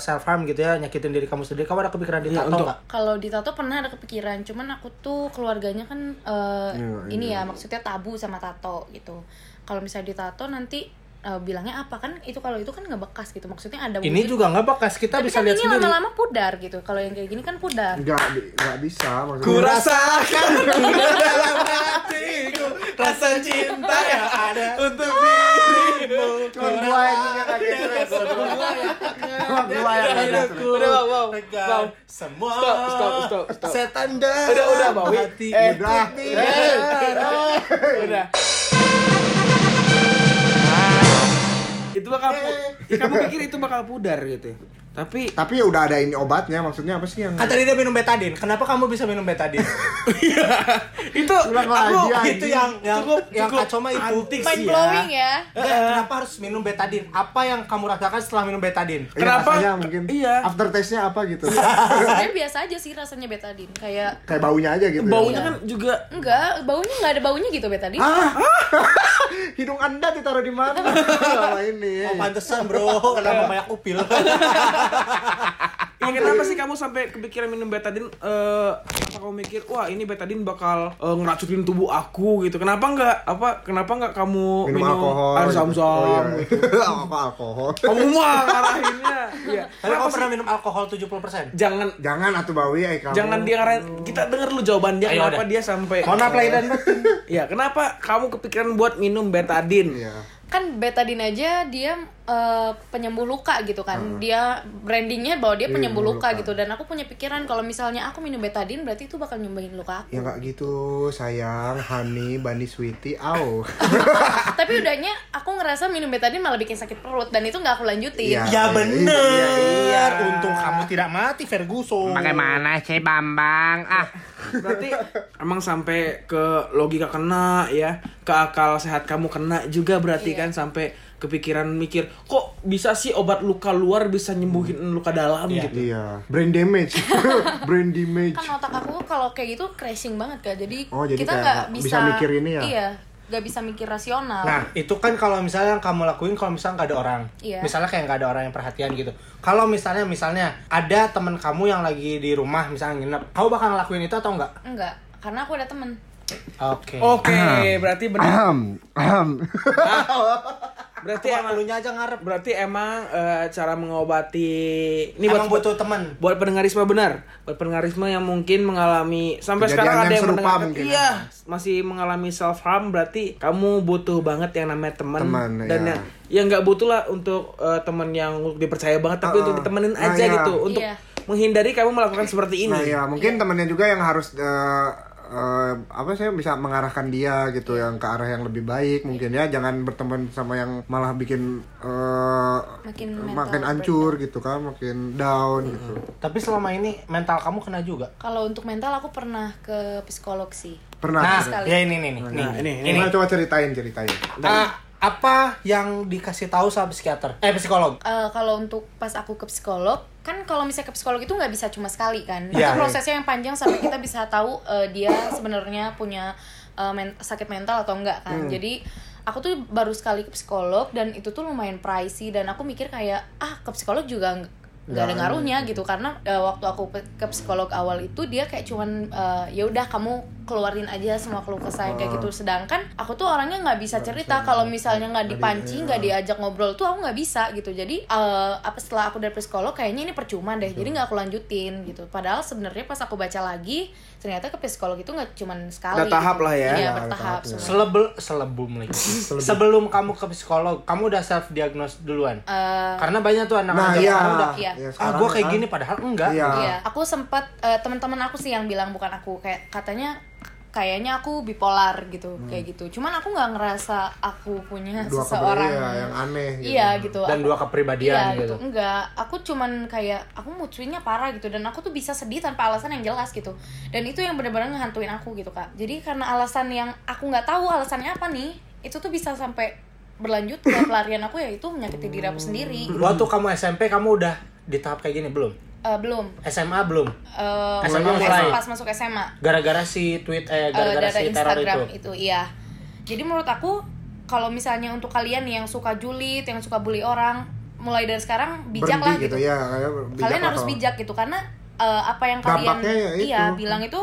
Speaker 5: self harm gitu ya nyakitin diri kamu sendiri? Kamu ada kepikiran ditato
Speaker 4: untuk-
Speaker 5: nggak?
Speaker 6: kalau ditato pernah ada kepikiran cuman aku tuh keluarganya kan eh,
Speaker 5: Iya,
Speaker 6: ini ya maksudnya tabu sama tato gitu kalau misalnya ditato nanti eh, bilangnya apa kan itu kalau itu kan nggak bekas gitu maksudnya ada
Speaker 5: Ini
Speaker 6: wujud-
Speaker 5: juga nggak bekas kita
Speaker 6: Tapi
Speaker 5: bisa
Speaker 6: kan
Speaker 5: lihat
Speaker 6: ini
Speaker 5: sendiri.
Speaker 6: lama-lama pudar gitu kalau yang kayak gini kan pudar
Speaker 3: nggak bi- nggak bisa maksudnya
Speaker 4: Kurasakan dalam hatiku rasa cinta yang ada untuk dirimu.
Speaker 3: Cuman gua yang punya kaki stress. Cuma gua yang Eh, punya stress.
Speaker 4: Udah, wow, wow, wow.
Speaker 5: Semua
Speaker 4: Stop, stop, stop, stop.
Speaker 5: setan dah.
Speaker 4: Udah, udah, Bawi.
Speaker 5: Hati.
Speaker 4: Eh,
Speaker 3: Udah. Eh,
Speaker 4: Udah. itu bakal pu- ya, kamu pikir itu bakal pudar gitu. Tapi
Speaker 3: Tapi ya udah ada ini obatnya, maksudnya apa sih yang
Speaker 5: Kan tadi dia minum betadin. Kenapa kamu bisa minum betadin?
Speaker 4: itu
Speaker 3: Ulang lagi,
Speaker 4: aku
Speaker 3: anjing.
Speaker 5: itu yang yang
Speaker 4: Cukup,
Speaker 5: yang
Speaker 4: cukup.
Speaker 5: kacau mah itu.
Speaker 4: Antik
Speaker 6: Mind blowing
Speaker 5: Eh,
Speaker 6: ya.
Speaker 5: Enggak, kenapa harus minum betadin? Apa yang kamu rasakan setelah minum betadin?
Speaker 3: Iya,
Speaker 4: Kenapa?
Speaker 3: rasanya mungkin
Speaker 4: Iya.
Speaker 3: after taste-nya apa gitu.
Speaker 6: Sebenarnya biasa aja sih rasanya betadin. Kayak
Speaker 3: Kayak baunya aja gitu. ya.
Speaker 4: baunya kan Ah, juga
Speaker 6: enggak, baunya enggak ada baunya gitu betadin.
Speaker 3: Iya. Hidung Anda ditaruh di mana? Selama ini.
Speaker 5: Oh, pantesan bro, Eh. kenapa banyak upil?
Speaker 4: Ya, kenapa sih kamu sampai kepikiran minum betadin? Eh, apa kamu mikir, wah ini betadin bakal eh, ngeracunin tubuh aku gitu? Kenapa nggak apa? Kenapa nggak kamu
Speaker 3: minum, alkohol.
Speaker 4: air
Speaker 3: gitu.
Speaker 4: zam-zam?
Speaker 3: Oh, iya. Apa alkohol?
Speaker 4: Kamu mah ngarahinnya. Iya.
Speaker 5: Tapi
Speaker 4: Kenapa
Speaker 5: kamu
Speaker 4: sih?
Speaker 5: pernah minum alkohol 70%?
Speaker 4: Jangan
Speaker 3: Jangan atuh bawi ay kamu.
Speaker 4: jangan dia ngarahin. Kita denger lu jawaban dia
Speaker 5: Ayo,
Speaker 4: kenapa
Speaker 5: udah.
Speaker 4: dia sampai.
Speaker 5: Mohon maaf lahir dan batin.
Speaker 4: Iya, kenapa kamu kepikiran buat minum betadin?
Speaker 3: Iya.
Speaker 6: Kan betadin aja dia eh, penyembuh luka gitu kan.
Speaker 5: Hmm.
Speaker 6: Dia brandingnya bahwa
Speaker 5: Iya,
Speaker 6: dia penyembuh luka, gitu dan aku punya pikiran kalau misalnya aku minum betadin berarti itu bakal nyembuhin luka aku.
Speaker 3: Ya nggak gitu, sayang. Honey, Bunny, Sweetie, au.
Speaker 6: Tapi udahnya aku ngerasa minum betadin malah bikin sakit perut dan itu nggak aku lanjutin.
Speaker 3: Iya.
Speaker 5: Ya
Speaker 3: Iya,
Speaker 5: bener. Untung kamu tidak mati, Ferguson.
Speaker 9: Bagaimana sih Bambang? Ah,
Speaker 4: Berarti emang sampai ke logika kena ya, ke akal sehat kamu kena juga berarti kan sampai kepikiran mikir kok bisa sih obat luka luar bisa nyembuhin luka dalam gitu.
Speaker 3: Iya. Brain damage. Brain damage.
Speaker 6: kan otak aku kalau kayak gitu crashing banget kak jadi,
Speaker 3: Oh, jadi
Speaker 6: kita
Speaker 3: kayak
Speaker 6: nggak
Speaker 3: nggak
Speaker 6: bisa,
Speaker 3: bisa mikir ini ya?
Speaker 6: iya nggak bisa mikir rasional
Speaker 5: Nah, itu kan kalau misalnya yang kamu lakuin kalau misalnya nggak ada orang.
Speaker 6: Iya.
Speaker 5: Misalnya kayak nggak ada orang yang perhatian gitu. Kalau misalnya misalnya ada teman kamu yang lagi di rumah misalnya nginep, kamu bakal ngelakuin itu atau enggak?
Speaker 6: enggak karena aku ada temen
Speaker 5: Oke.
Speaker 4: Oke,
Speaker 5: Ah.
Speaker 4: berarti benar.
Speaker 8: Ahem, ahem.
Speaker 4: Berarti
Speaker 5: Cuma
Speaker 4: emang
Speaker 5: elunya aja ngarep.
Speaker 4: berarti emang eh, cara mengobati ini
Speaker 5: Ini
Speaker 4: buat
Speaker 5: Emang butuh teman.
Speaker 4: buat pendengarisme benar buat pendengarisme yang mungkin mengalami sampai
Speaker 3: Kejadian
Speaker 4: sekarang ada
Speaker 3: yang
Speaker 4: yang,
Speaker 3: serupa
Speaker 4: mendengarkan,
Speaker 3: mungkin. ya.
Speaker 4: iya masih mengalami self harm berarti kamu butuh banget yang namanya teman
Speaker 3: Teman,
Speaker 4: dan
Speaker 3: iya.
Speaker 4: yang yang nggak butuh lah untuk eh, teman yang dipercaya banget
Speaker 3: Uh-uh.
Speaker 4: tapi untuk ditemenin
Speaker 3: Nah,
Speaker 4: aja
Speaker 3: iya.
Speaker 4: gitu untuk
Speaker 6: Iya.
Speaker 4: menghindari kamu melakukan seperti ini
Speaker 3: Nah ya mungkin temennya juga yang harus eh, eh, apa sih bisa mengarahkan dia gitu yang ke arah yang lebih baik mungkin ya jangan berteman sama yang malah bikin eh,
Speaker 6: Makin
Speaker 3: makin
Speaker 6: mental
Speaker 3: hancur gitu kan makin down gitu
Speaker 5: Tapi selama ini mental kamu kena juga.
Speaker 6: kalau untuk mental aku pernah ke psikolog sih
Speaker 3: pernah
Speaker 5: Nah,
Speaker 3: pernah.
Speaker 5: ya ini nih nih.
Speaker 4: Nah,
Speaker 5: nih.
Speaker 4: ini ini
Speaker 3: Gimana? coba ceritain ceritain
Speaker 5: Ah, apa yang dikasih tahu sama psikiater? Eh psikolog.
Speaker 6: Eh, kalau untuk pas aku ke psikolog kan kalau misalnya ke psikolog itu nggak bisa cuma sekali kan
Speaker 5: Iya.
Speaker 6: itu prosesnya yang panjang sampai kita bisa tahu eh, dia sebenarnya punya eh, men- sakit mental atau enggak
Speaker 5: Hmm.
Speaker 6: kan jadi aku tuh baru sekali ke psikolog dan itu tuh lumayan pricey dan aku mikir kayak ah ke psikolog juga ng- nggak ada ngaruhnya gitu karena eh, waktu aku pe- ke psikolog awal itu dia kayak cuman eh, ya udah kamu keluarin aja semua keluh kesah kayak gitu sedangkan aku tuh orangnya nggak bisa cerita kalau misalnya nggak dipancing nggak diajak ngobrol tuh aku nggak bisa gitu jadi eh, apa setelah aku dari psikolog kayaknya ini percuma deh jadi nggak aku lanjutin gitu padahal sebenarnya pas aku baca lagi ternyata ke psikolog itu nggak cuman sekali
Speaker 4: Ada tahap
Speaker 6: gitu.
Speaker 4: lah ya.
Speaker 6: iya
Speaker 3: Ada
Speaker 6: bertahap
Speaker 3: tahapnya.
Speaker 6: semua.
Speaker 5: Selebel selebum lagi. Sebelum kamu ke psikolog, kamu udah self diagnose duluan.
Speaker 6: Eh,
Speaker 5: Karena banyak tuh
Speaker 3: nah
Speaker 5: anak-anak yang
Speaker 3: iya
Speaker 5: sekarang udah,
Speaker 6: Iya.
Speaker 3: Iya,
Speaker 5: ah
Speaker 3: sekarang
Speaker 5: gue kayak
Speaker 3: kan.
Speaker 5: gini padahal enggak.
Speaker 3: iya
Speaker 6: Iya, aku sempat eh, teman-teman aku sih yang bilang bukan aku kayak katanya kayaknya aku bipolar gitu kayak gitu. Cuman aku nggak ngerasa aku
Speaker 3: Hmm.
Speaker 6: punya
Speaker 3: dua
Speaker 6: seseorang
Speaker 3: keberia yang aneh gitu.
Speaker 6: Iya gitu.
Speaker 5: Dan
Speaker 6: Aku-
Speaker 5: dua kepribadian
Speaker 6: iya,
Speaker 5: gitu.
Speaker 6: Enggak, aku cuman kayak aku mood swingnya parah gitu dan aku tuh bisa sedih tanpa alasan yang jelas gitu. Dan itu yang benar-benar ngehantuin aku gitu kak. Jadi karena alasan yang aku nggak tahu alasannya apa nih, itu tuh bisa sampai berlanjut ke pelarian aku ya itu menyakiti diri aku sendiri.
Speaker 5: Waktu kamu SMP kamu udah di tahap kayak gini belum?
Speaker 6: Eh, belum.
Speaker 5: SMA belum?
Speaker 6: Eh,
Speaker 5: SMA mulai.
Speaker 6: pas masuk SMA.
Speaker 5: Gara-gara si tweet eh
Speaker 6: Eh,
Speaker 5: gara-gara
Speaker 6: data
Speaker 5: si teror
Speaker 6: Instagram
Speaker 5: itu.
Speaker 6: itu. iya jadi menurut aku kalau misalnya untuk kalian nih yang suka julid yang suka bully orang mulai dari sekarang bijak
Speaker 3: Berhenti
Speaker 6: lah gitu,
Speaker 3: gitu ya kayak bijak
Speaker 6: kalian harus
Speaker 3: atau-
Speaker 6: bijak gitu karena eh, apa yang kalian
Speaker 3: Dampaknya ya itu.
Speaker 6: iya bilang itu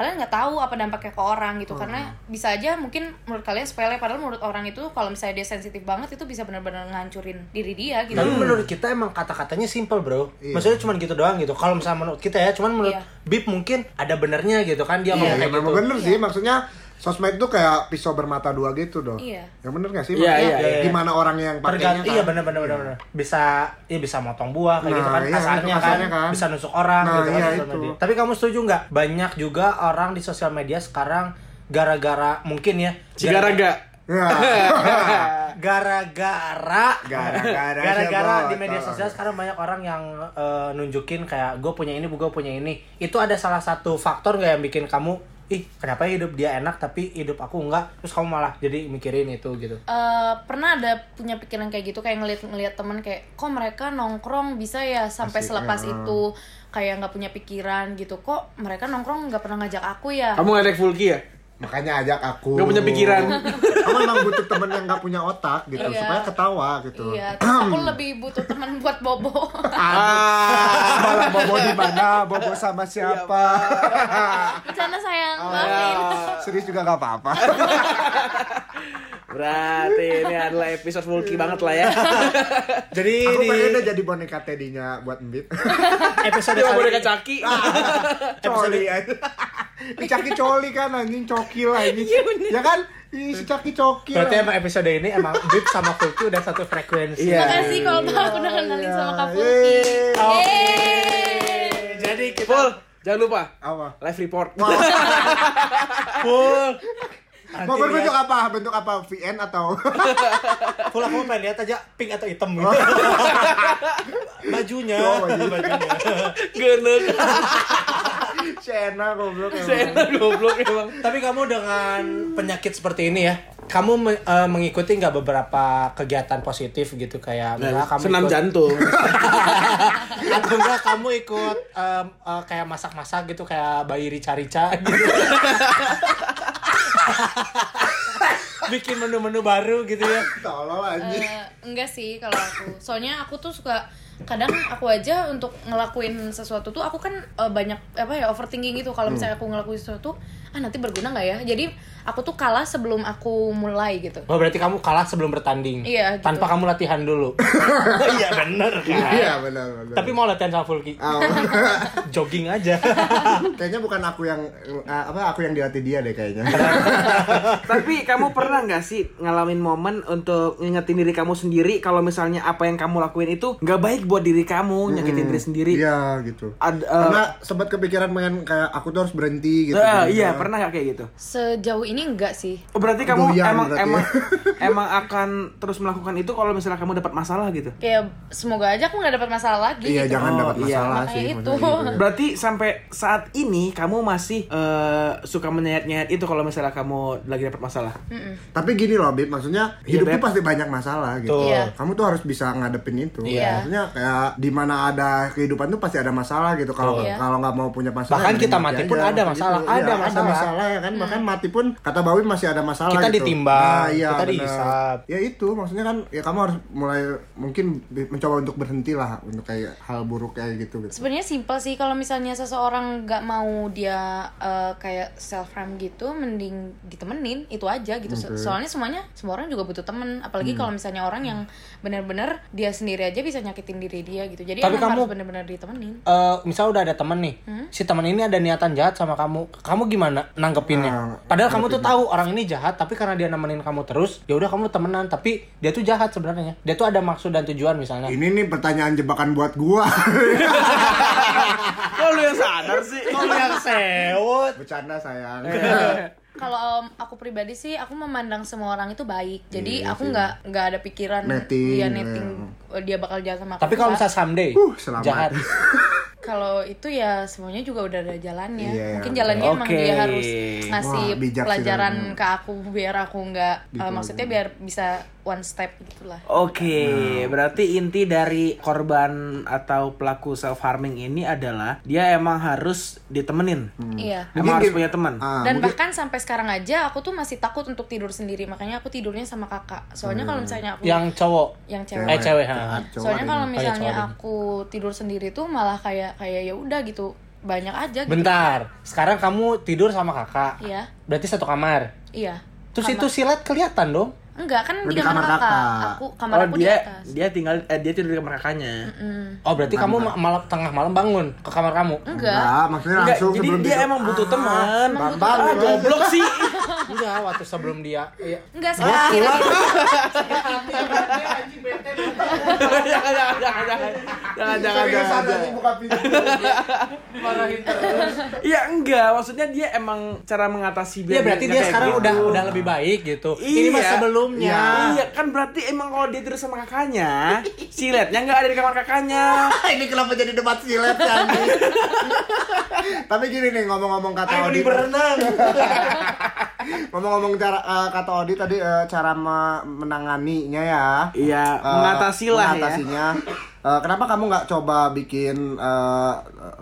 Speaker 6: kalian nggak tahu apa dampaknya ke orang gitu karena bisa aja mungkin menurut kalian sepele padahal menurut orang itu kalau misalnya dia sensitif banget itu bisa benar-benar ngancurin diri dia gitu
Speaker 3: Hmm.
Speaker 5: Tapi menurut kita emang kata-katanya simple bro
Speaker 3: Iya.
Speaker 5: Maksudnya cuman gitu doang gitu Kalau misalnya menurut kita ya Cuman menurut
Speaker 6: Iya.
Speaker 5: Bip mungkin ada benernya gitu kan Dia
Speaker 3: Iya,
Speaker 5: ngomong kayak
Speaker 3: memang
Speaker 5: gitu
Speaker 3: bener sih maksudnya sosmed tuh kayak pisau bermata dua gitu dong.
Speaker 6: Iya.
Speaker 3: Yang bener gak sih?
Speaker 4: Iya,
Speaker 3: Maksudnya
Speaker 4: iya, iya.
Speaker 3: Gimana orang yang pakainya? kan?
Speaker 5: Tergantung Iya bener-bener bener, bener. Bisa Iya bisa motong buah kayak
Speaker 3: Nah,
Speaker 5: gitu kan
Speaker 3: iya,
Speaker 5: kasarnya,
Speaker 3: itu kasarnya
Speaker 5: kan.
Speaker 3: kan.
Speaker 5: Bisa nusuk orang
Speaker 3: Nah,
Speaker 5: gitu
Speaker 3: iya,
Speaker 5: kan sosial
Speaker 3: itu.
Speaker 5: media. Tapi kamu setuju nggak Banyak juga orang di sosial media sekarang gara-gara mungkin
Speaker 3: Iya.
Speaker 5: ya
Speaker 4: Cigaraga.
Speaker 5: gara-gara
Speaker 3: Gara-gara
Speaker 5: gara-gara
Speaker 3: siapa?
Speaker 5: di media sosial sekarang banyak orang yang eh, nunjukin kayak gue punya ini gue punya ini itu ada salah satu faktor nggak yang bikin kamu ih kenapa ya hidup dia enak tapi hidup aku enggak terus kamu malah jadi mikirin itu gitu
Speaker 6: Eh, pernah ada punya pikiran kayak gitu kayak ngeliat ngeliat teman kayak kok mereka nongkrong bisa ya sampai selepas itu kayak nggak punya pikiran gitu kok mereka nongkrong nggak pernah ngajak aku ya
Speaker 4: Kamu ngajak Fulki ya?
Speaker 3: Makanya ajak aku.
Speaker 4: Nggak punya pikiran.
Speaker 3: Kamu emang butuh temen yang gak punya otak gitu
Speaker 6: Iya.
Speaker 3: supaya ketawa gitu.
Speaker 6: iya terus aku lebih butuh teman buat bobo
Speaker 3: Malah bobo di mana?
Speaker 4: Iya,
Speaker 3: Bobo sama siapa?
Speaker 6: bercanda sayang maafin
Speaker 3: Serius juga gak apa-apa.
Speaker 4: Berarti ini adalah episode Fulki
Speaker 3: Iya.
Speaker 4: banget lah ya.
Speaker 5: jadi
Speaker 3: Aku
Speaker 5: di
Speaker 3: pengen udah jadi boneka Teddy-nya buat Mbit.
Speaker 5: episode
Speaker 4: Dia mau
Speaker 5: kali
Speaker 4: boneka caki.
Speaker 3: Ah. coli aja. Ini caki coli kan anjing coki lah ini.
Speaker 6: Iya,
Speaker 3: ya kan? Ini si caki coki.
Speaker 5: berarti
Speaker 3: lah.
Speaker 5: emang episode ini emang Bib sama Fulki udah satu frekuensi
Speaker 4: Iya.
Speaker 6: makasih kalau aku udah
Speaker 3: Iya,
Speaker 6: kenalin sama Kak Putih Iya.
Speaker 3: Yeay.
Speaker 5: Eh, jadi kita
Speaker 4: Ful, jangan lupa
Speaker 3: Apa?
Speaker 4: live report.
Speaker 5: full
Speaker 3: Mau berbentuk
Speaker 4: iya.
Speaker 3: apa? Bentuk apa? VN atau?
Speaker 5: full aku pengen lihat aja pink atau hitam gitu bajunya
Speaker 4: Iya,
Speaker 3: Oh, bajunya.
Speaker 5: bajunya
Speaker 4: Genek.
Speaker 3: Sena goblok emang.
Speaker 4: Sena goblok emang.
Speaker 5: Tapi kamu dengan penyakit seperti ini ya, kamu me- eh, mengikuti nggak beberapa kegiatan positif gitu kayak misalnya kamu
Speaker 4: Nah, Senam
Speaker 5: ikut,
Speaker 4: jantung.
Speaker 5: atau enggak kamu ikut em, eh, kayak masak-masak gitu kayak bayi rica-rica gitu. Bikin menu-menu baru gitu ya.
Speaker 3: Tolol anjing.
Speaker 6: Eh, enggak sih kalau aku soalnya aku tuh suka kadang aku aja untuk ngelakuin sesuatu tuh aku kan eh, banyak apa ya overthinking gitu kalau
Speaker 3: Hmm.
Speaker 6: misalnya aku ngelakuin sesuatu ah nanti berguna nggak ya jadi aku tuh kalah sebelum aku mulai gitu
Speaker 5: Oh berarti kamu kalah sebelum bertanding.
Speaker 6: Iya, gitu.
Speaker 5: Tanpa kamu latihan dulu. Iya bener kan.
Speaker 3: Iya benar benar.
Speaker 5: Tapi mau latihan sama Fulki. Jogging aja.
Speaker 3: kayaknya bukan aku yang eh, apa aku yang dilatih dia deh kayaknya.
Speaker 4: Iya, kan? Tapi kamu pernah nggak sih ngalamin momen untuk ngingetin diri kamu sendiri kalau misalnya apa yang kamu lakuin itu nggak baik buat diri kamu, nyakitin diri sendiri.
Speaker 3: Iya gitu.
Speaker 4: Ad- eh,
Speaker 3: Karena sempat kepikiran pengen kayak aku tuh harus berhenti gitu.
Speaker 4: eh,
Speaker 3: gitu.
Speaker 4: iya, pernah nggak kayak gitu?
Speaker 6: sejauh ini enggak sih
Speaker 4: Oh, berarti kamu
Speaker 3: Doyan
Speaker 4: emang
Speaker 3: berarti
Speaker 4: emang
Speaker 3: ya.
Speaker 4: emang akan terus melakukan itu kalau misalnya kamu dapat masalah gitu.
Speaker 6: kayak semoga aja aku nggak dapat masalah lagi
Speaker 3: Iya
Speaker 6: gitu.
Speaker 3: jangan
Speaker 4: Oh,
Speaker 3: dapat
Speaker 4: iya.
Speaker 3: masalah
Speaker 6: Makanya
Speaker 3: sih.
Speaker 6: itu.
Speaker 3: maksudnya gitu ya.
Speaker 4: Berarti sampai saat ini kamu masih eh, suka menyayat-nyayat itu kalau misalnya kamu lagi dapat masalah.
Speaker 3: Tapi gini loh, Bib, maksudnya
Speaker 5: Iya,
Speaker 3: hidup
Speaker 4: Beb.
Speaker 3: tuh pasti banyak masalah gitu.
Speaker 5: Tuh.
Speaker 6: Iya.
Speaker 3: Kamu tuh harus bisa ngadepin itu.
Speaker 6: Iya.
Speaker 3: Maksudnya kayak di mana ada kehidupan tuh pasti ada masalah gitu. Kalau
Speaker 6: Iya.
Speaker 3: kalau nggak mau punya masalah.
Speaker 5: Bahkan
Speaker 3: ya
Speaker 5: kita
Speaker 3: mending
Speaker 5: mati pun ada
Speaker 3: Gitu.
Speaker 5: masalah,
Speaker 3: Iya,
Speaker 5: ada masalah.
Speaker 3: ya kan.
Speaker 6: Hmm.
Speaker 3: Bahkan mati pun kata Bawi masih ada masalah
Speaker 5: Kita
Speaker 3: gitu.
Speaker 5: ditimbang,
Speaker 3: Nah, iya,
Speaker 5: kita
Speaker 3: benar.
Speaker 5: dihisap.
Speaker 3: Ya itu maksudnya kan ya kamu harus mulai mungkin bi- mencoba untuk berhenti lah untuk kayak hal buruk kayak gitu gitu.
Speaker 6: sebenarnya simpel sih kalau misalnya seseorang nggak mau dia eh, kayak self harm gitu mending ditemenin itu aja gitu So- soalnya semuanya semua orang juga butuh temen
Speaker 5: Hmm.
Speaker 6: apalagi kalau misalnya orang yang benar-benar dia sendiri aja bisa nyakitin diri dia gitu jadi
Speaker 5: Tapi
Speaker 6: emang
Speaker 5: kamu-
Speaker 6: harus benar-benar ditemenin
Speaker 5: Eh, misal udah ada teman nih,
Speaker 6: Hmm?
Speaker 5: si teman ini ada niatan jahat sama kamu, kamu gimana nanggepinnya? Padahal kamu tuh tahu orang ini jahat, tapi karena dia nemenin kamu terus, ya udah kamu temenan, tapi dia tuh jahat sebenarnya. Dia tuh ada maksud dan tujuan misalnya.
Speaker 3: Ini nih pertanyaan jebakan buat gua.
Speaker 4: Kok lu yang sadar sih?
Speaker 5: yang sewot.
Speaker 3: Bercanda sayang.
Speaker 5: Eh.
Speaker 6: kalau um, aku pribadi sih aku memandang semua orang itu baik jadi
Speaker 5: Iya
Speaker 6: aku nggak nggak ada pikiran
Speaker 3: Netting,
Speaker 6: dia netting eh, dia bakal jahat sama aku
Speaker 5: Tapi kalau
Speaker 6: Nggak.
Speaker 5: misal someday
Speaker 3: Uh, selamat.
Speaker 5: jahat,
Speaker 6: kalau itu ya semuanya juga udah ada jalannya
Speaker 3: Iya.
Speaker 6: mungkin jalannya emang
Speaker 4: Oke.
Speaker 6: dia harus ngasih
Speaker 3: Wah, bijak sih Gitu.
Speaker 6: pelajaran
Speaker 3: jalannya.
Speaker 6: ke aku biar aku nggak eh, maksudnya biar bisa one step gitulah
Speaker 4: Oke,
Speaker 3: Nah.
Speaker 4: berarti inti dari korban atau pelaku self harming ini adalah dia emang harus ditemenin.
Speaker 6: iya
Speaker 4: Emang harus
Speaker 3: gini-
Speaker 4: punya teman.
Speaker 3: Ah, Hmm. mungkin-
Speaker 6: dan bahkan sampai sekarang aja aku tuh masih takut untuk tidur sendiri makanya aku tidurnya sama kakak soalnya kalau misalnya aku
Speaker 5: yang cowok,
Speaker 6: yang cewek
Speaker 5: eh cewek, ha.
Speaker 3: Hmm. Cowok
Speaker 6: soalnya
Speaker 3: ada
Speaker 6: kalau
Speaker 5: ini. Oh, iya,
Speaker 6: misalnya
Speaker 5: cowok ada ini.
Speaker 6: aku tidur sendiri tuh malah kayak kayak ya udah gitu banyak aja gitu
Speaker 5: Bentar, sekarang kamu tidur sama kakak,
Speaker 6: iya
Speaker 5: berarti satu kamar.
Speaker 6: iya
Speaker 5: Terus itu silat kelihatan dong.
Speaker 6: Enggak, kan
Speaker 3: Lu di
Speaker 6: di kamar,
Speaker 3: kamar
Speaker 6: kakak.
Speaker 3: kakak.
Speaker 6: Aku kamar
Speaker 4: oh
Speaker 6: aku di
Speaker 4: dia
Speaker 6: atas.
Speaker 4: dia tinggal eh, dia tidur di kamar kakaknya.
Speaker 5: Oh berarti kamu ma- malam tengah malam bangun ke kamar kamu?
Speaker 6: Enggak. Ah.
Speaker 3: Enggak, maksudnya
Speaker 4: Enggak,
Speaker 3: langsung
Speaker 4: jadi
Speaker 3: sebelum
Speaker 4: dia
Speaker 3: tidur.
Speaker 4: emang butuh teman.
Speaker 6: emang
Speaker 4: Bambang,
Speaker 6: butuh
Speaker 4: ah, goblok sih.
Speaker 5: Enggak, waktu sebelum dia. Iya.
Speaker 6: Enggak, sekarang akhirnya
Speaker 4: jangan, jangan, jangan, jangan, jangan, jangan, jangan, jangan, jangan.
Speaker 3: buka pintu.
Speaker 4: Iya enggak, maksudnya dia emang cara mengatasi
Speaker 5: Iya
Speaker 4: biar
Speaker 5: berarti
Speaker 4: nggak
Speaker 5: dia
Speaker 4: kayak
Speaker 5: sekarang
Speaker 4: gitu.
Speaker 5: udah udah lebih baik gitu. Ini
Speaker 4: Iya.
Speaker 5: mah sebelumnya.
Speaker 4: Iya kan berarti emang kalau dia tidur sama kakaknya, siletnya nggak ada di kamar kakaknya.
Speaker 3: Ini kenapa jadi debat silet kan? Tapi gini nih ngomong-ngomong kata
Speaker 4: Ayo beli
Speaker 3: Odi.
Speaker 4: berenang.
Speaker 3: Ngomong-ngomong cara eh, kata Odi tadi eh, cara me- menanganinya ya.
Speaker 4: Iya,
Speaker 3: Eh,
Speaker 4: mengatasi lah ya.
Speaker 3: mengatasinya. Eh, kenapa kamu nggak coba bikin eh,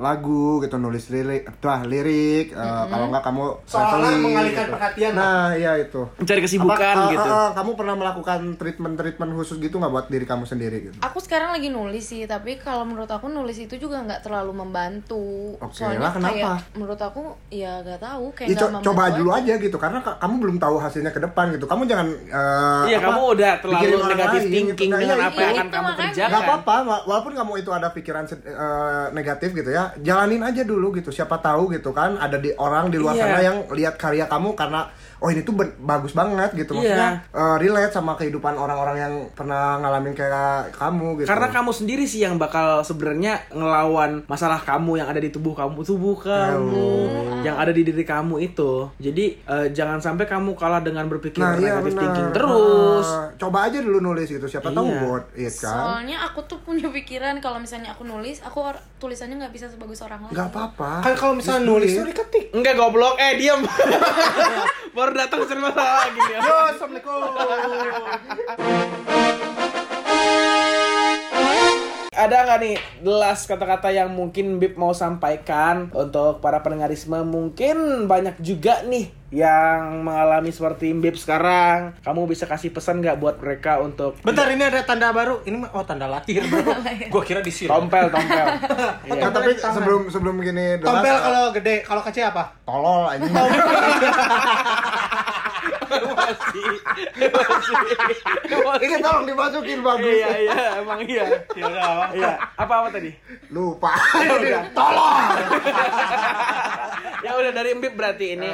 Speaker 3: lagu gitu nulis lirik, tuh lirik. eh, Kalau nggak kamu
Speaker 5: Seolah
Speaker 3: settling,
Speaker 5: mengalihkan
Speaker 3: gitu.
Speaker 5: perhatian.
Speaker 3: Nah, iya itu.
Speaker 4: Mencari kesibukan
Speaker 3: Apa- eh, eh,
Speaker 4: gitu.
Speaker 3: eh, kamu pernah melakukan treatment-treatment khusus gitu nggak buat diri kamu sendiri gitu?
Speaker 6: aku sekarang lagi nulis sih, tapi kalau menurut aku nulis itu juga nggak terlalu membantu.
Speaker 3: Oke,
Speaker 6: Soalnya
Speaker 3: lah kenapa?
Speaker 6: kayak menurut aku ya nggak tahu kayak
Speaker 3: Ya,
Speaker 6: nggak
Speaker 3: co-
Speaker 6: membantu
Speaker 3: coba dulu aja gitu karena ka- kamu belum tahu hasilnya ke depan gitu. Kamu jangan eh,
Speaker 4: Iya,
Speaker 3: apa,
Speaker 4: kamu udah terlalu
Speaker 3: pikirin orang
Speaker 4: negatif
Speaker 3: lain,
Speaker 4: thinking
Speaker 3: gitu. Nah,
Speaker 4: dengan
Speaker 3: iya,
Speaker 4: apa yang
Speaker 6: iya,
Speaker 4: akan
Speaker 6: itu
Speaker 4: kamu
Speaker 6: makanya.
Speaker 4: kerjakan.
Speaker 3: Gak apa-apa, wa- walaupun kamu itu ada pikiran sed- eh, negatif gitu ya, jalanin aja dulu gitu. Siapa tahu gitu kan, ada di orang di luar
Speaker 4: Iya.
Speaker 3: sana yang lihat karya kamu karena oh ini tuh ben- bagus banget gitu.
Speaker 4: Iya.
Speaker 3: Maksudnya eh, relate sama kehidupan orang-orang yang pernah ngalamin kayak kamu gitu.
Speaker 4: Karena kamu sendiri sih yang bakal sebenarnya ngelawan masalah kamu yang ada di tubuh kamu, tubuh kamu,
Speaker 3: Ya
Speaker 4: yang ada di diri kamu itu. Jadi eh, jangan sampai kamu kalah dengan berpikir
Speaker 3: Nah, iya
Speaker 4: negatif
Speaker 3: benar.
Speaker 4: thinking terus.
Speaker 3: Nah, coba aja dulu nulis gitu. Siapa tahu
Speaker 4: Iya.
Speaker 3: buat it kan.
Speaker 6: Soalnya aku tuh punya pikiran kalau misalnya aku nulis, aku or- tulisannya nggak bisa sebagus orang lain.
Speaker 3: Gak apa-apa.
Speaker 5: Kan kalau misalnya nulis
Speaker 4: Iya.
Speaker 5: tuh diketik.
Speaker 4: Enggak goblok, eh diam. Baru datang sering masalah lagi nih.
Speaker 3: Ya,
Speaker 4: Ada nggak nih the last kata-kata yang mungkin Bib mau sampaikan untuk para pendengarisme mungkin banyak juga nih yang mengalami seperti Bib sekarang. Kamu bisa kasih pesan nggak buat mereka untuk
Speaker 5: Bentar ini ada tanda baru. Ini mah- oh tanda lahir bro. Gua kira di sini.
Speaker 4: tompel tompel. Iya.
Speaker 3: Nah, tapi sebelum sebelum gini The
Speaker 5: Tompel
Speaker 3: Last-
Speaker 5: kalau gede, kalau kecil apa?
Speaker 3: tolol anjing.
Speaker 4: Masih. Masih.
Speaker 3: Ini tolong dimasukin bagus.
Speaker 4: Iya iya emang iya.
Speaker 5: Ya udah apa?
Speaker 4: Iya, apa apa tadi?
Speaker 3: Lupa. tolong.
Speaker 4: Ya udah dari Mbip berarti ini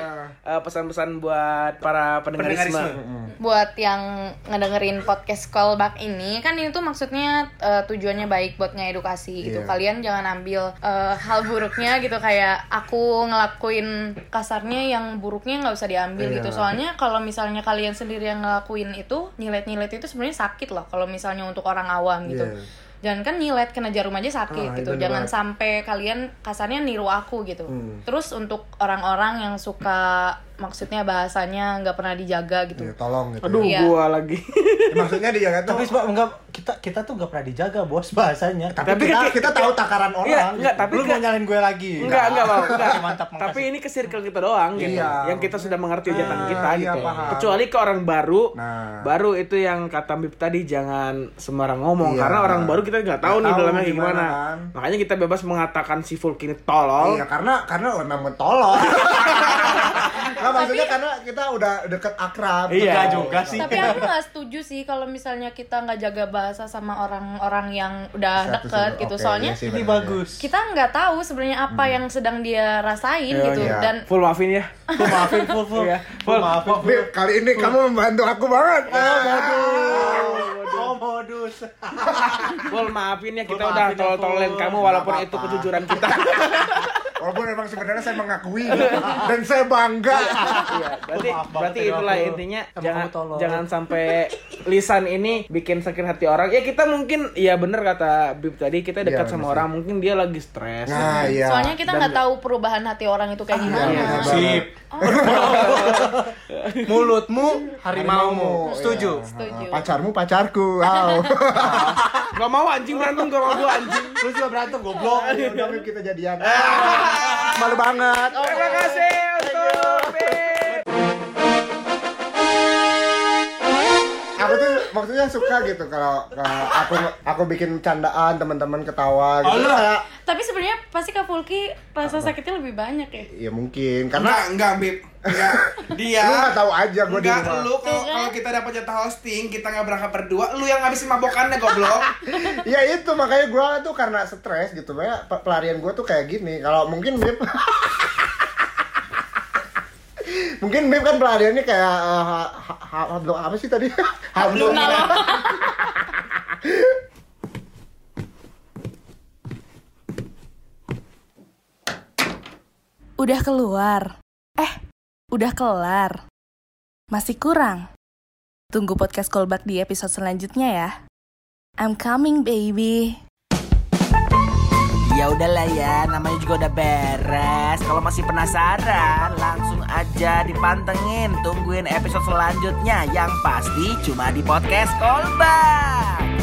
Speaker 4: eh, pesan-pesan buat para pendengarisme.
Speaker 6: buat yang ngedengerin podcast callback ini kan ini tuh maksudnya eh, tujuannya baik buat ngedukasi
Speaker 3: Iya.
Speaker 6: gitu kalian jangan ambil eh, hal buruknya gitu kayak aku ngelakuin kasarnya yang buruknya nggak usah diambil
Speaker 3: Iya.
Speaker 6: gitu soalnya kalau misalnya kalian sendiri yang ngelakuin itu nyilet-nyilet itu sebenarnya sakit loh kalau misalnya untuk orang awam gitu
Speaker 3: Iya.
Speaker 6: Jangan kan nyilet kena jarum aja sakit
Speaker 3: Ah, itu
Speaker 6: gitu.
Speaker 3: Hmm.
Speaker 6: Jangan
Speaker 3: banget.
Speaker 6: sampai kalian kasarnya niru aku gitu. Terus untuk orang-orang yang suka maksudnya bahasanya nggak pernah dijaga gitu.
Speaker 3: Ya, tolong gitu.
Speaker 4: Aduh,
Speaker 6: Iya.
Speaker 4: gua lagi.
Speaker 3: Ya, maksudnya dia kan
Speaker 5: Tapi sebab enggak kita kita tuh enggak pernah dijaga bos bahasanya.
Speaker 3: tapi, kita, kita tahu takaran orang.
Speaker 4: Iya, enggak,
Speaker 5: Enggak,
Speaker 4: tapi
Speaker 5: tapi lu
Speaker 4: enggak-
Speaker 5: mau nyalain gue lagi.
Speaker 4: Enggak, enggak mau. Enggak.
Speaker 5: Mantap, makasih.
Speaker 4: Tapi ini ke circle kita doang gitu.
Speaker 3: Iya.
Speaker 4: Yang kita sudah mengerti ucapan
Speaker 3: Ah,
Speaker 4: kita
Speaker 3: iya,
Speaker 4: gitu.
Speaker 3: paham.
Speaker 4: Kecuali ke orang baru.
Speaker 3: Nah.
Speaker 4: Baru itu yang kata Bib tadi jangan sembarang ngomong
Speaker 3: Iya.
Speaker 4: karena orang baru kita nggak
Speaker 3: Nggak
Speaker 4: tahu nih
Speaker 3: tahu
Speaker 4: dalamnya kayak
Speaker 3: gimana,
Speaker 4: gimana.
Speaker 3: kan.
Speaker 4: Makanya kita bebas mengatakan si Fulk ini tolol.
Speaker 3: Iya, karena karena memang tolong. Enggak maksudnya karena kita udah deket akrab.
Speaker 4: Iya.
Speaker 5: enggak
Speaker 3: Enggak
Speaker 5: juga sih.
Speaker 6: Tapi aku nggak setuju sih kalau misalnya kita nggak jaga bahasa sama orang-orang yang udah
Speaker 3: Satu
Speaker 6: deket
Speaker 3: sendok,
Speaker 6: gitu.
Speaker 3: oke,
Speaker 6: Soalnya
Speaker 3: iya sih,
Speaker 5: Ini
Speaker 3: benar-benar.
Speaker 5: bagus.
Speaker 6: kita nggak tahu sebenarnya apa yang sedang dia rasain gitu.
Speaker 3: iya.
Speaker 6: Dan
Speaker 4: Full maafin ya.
Speaker 5: Full maafin, full full.
Speaker 4: Iya.
Speaker 5: Full maafin.
Speaker 3: Bib, kali ini kamu membantu aku banget.
Speaker 5: Ah, Oh modus.
Speaker 4: Full maafin ya kita
Speaker 5: Full
Speaker 4: udah
Speaker 5: maafin ya,
Speaker 4: tolol-tololin
Speaker 5: Full.
Speaker 4: kamu walaupun
Speaker 3: Nggak
Speaker 4: itu
Speaker 3: apa-apa.
Speaker 4: kejujuran kita.
Speaker 3: Walaupun memang sebenarnya saya mengakui dan saya bangga.
Speaker 4: Iya, berarti
Speaker 5: Maaf banget
Speaker 4: berarti
Speaker 5: ya,
Speaker 4: itulah
Speaker 5: aku.
Speaker 4: intinya
Speaker 5: Emang
Speaker 4: jangan
Speaker 5: kamu tolol.
Speaker 4: jangan sampai lisan ini bikin sakit hati orang. Ya kita mungkin ya bener kata Bib tadi kita
Speaker 3: Iya,
Speaker 4: dekat
Speaker 3: bener
Speaker 4: sama orang mungkin dia lagi stres.
Speaker 3: Nah, iya. Ah,
Speaker 6: soalnya kita nggak tahu perubahan hati orang itu kayak gimana.
Speaker 5: Sip. Mulutmu
Speaker 3: Harimaumu,
Speaker 5: harimaumu. Setuju.
Speaker 3: iya.
Speaker 6: Setuju.
Speaker 3: Pacarmu pacarku. Wow.
Speaker 4: Gak mau anjing berantem gak mau gua anjing.
Speaker 5: Terus juga berantem goblok.
Speaker 3: Ya udah Bib, kita jadian. Oh. Malu banget.
Speaker 4: Terima kasih untuk Bib.
Speaker 3: Aku tuh maksudnya suka gitu kalau kalau aku aku bikin candaan teman-teman ketawa gitu.
Speaker 4: Alah.
Speaker 3: Kayak,
Speaker 6: Tapi sebenarnya pasti Kak Fulki rasa sakitnya lebih banyak ya.
Speaker 3: ya mungkin
Speaker 4: Enggak,
Speaker 3: karena
Speaker 4: enggak, Bib. Enggak. Dia.
Speaker 3: Lu nggak tahu aja gua di
Speaker 4: Enggak,
Speaker 3: rumah.
Speaker 4: lu kalau kalau kita dapat jatah hosting, kita nggak berangkat berdua, lu yang ngabisin mabokannya goblok.
Speaker 3: ya itu makanya gua tuh karena stres gitu ya pe- pelarian gua tuh kayak gini kalau mungkin Bib mungkin Bib kan pelariannya kayak eh, ha- ha- ha- hablum- apa sih tadi hablum
Speaker 1: Udah keluar. Eh, udah kelar. Masih kurang. Tunggu podcast callback di episode selanjutnya ya. I'm coming baby.
Speaker 2: Ya udahlah ya, namanya juga udah beres. Kalau masih penasaran, langsung aja dipantengin, tungguin episode selanjutnya yang pasti cuma di podcast Kolbak.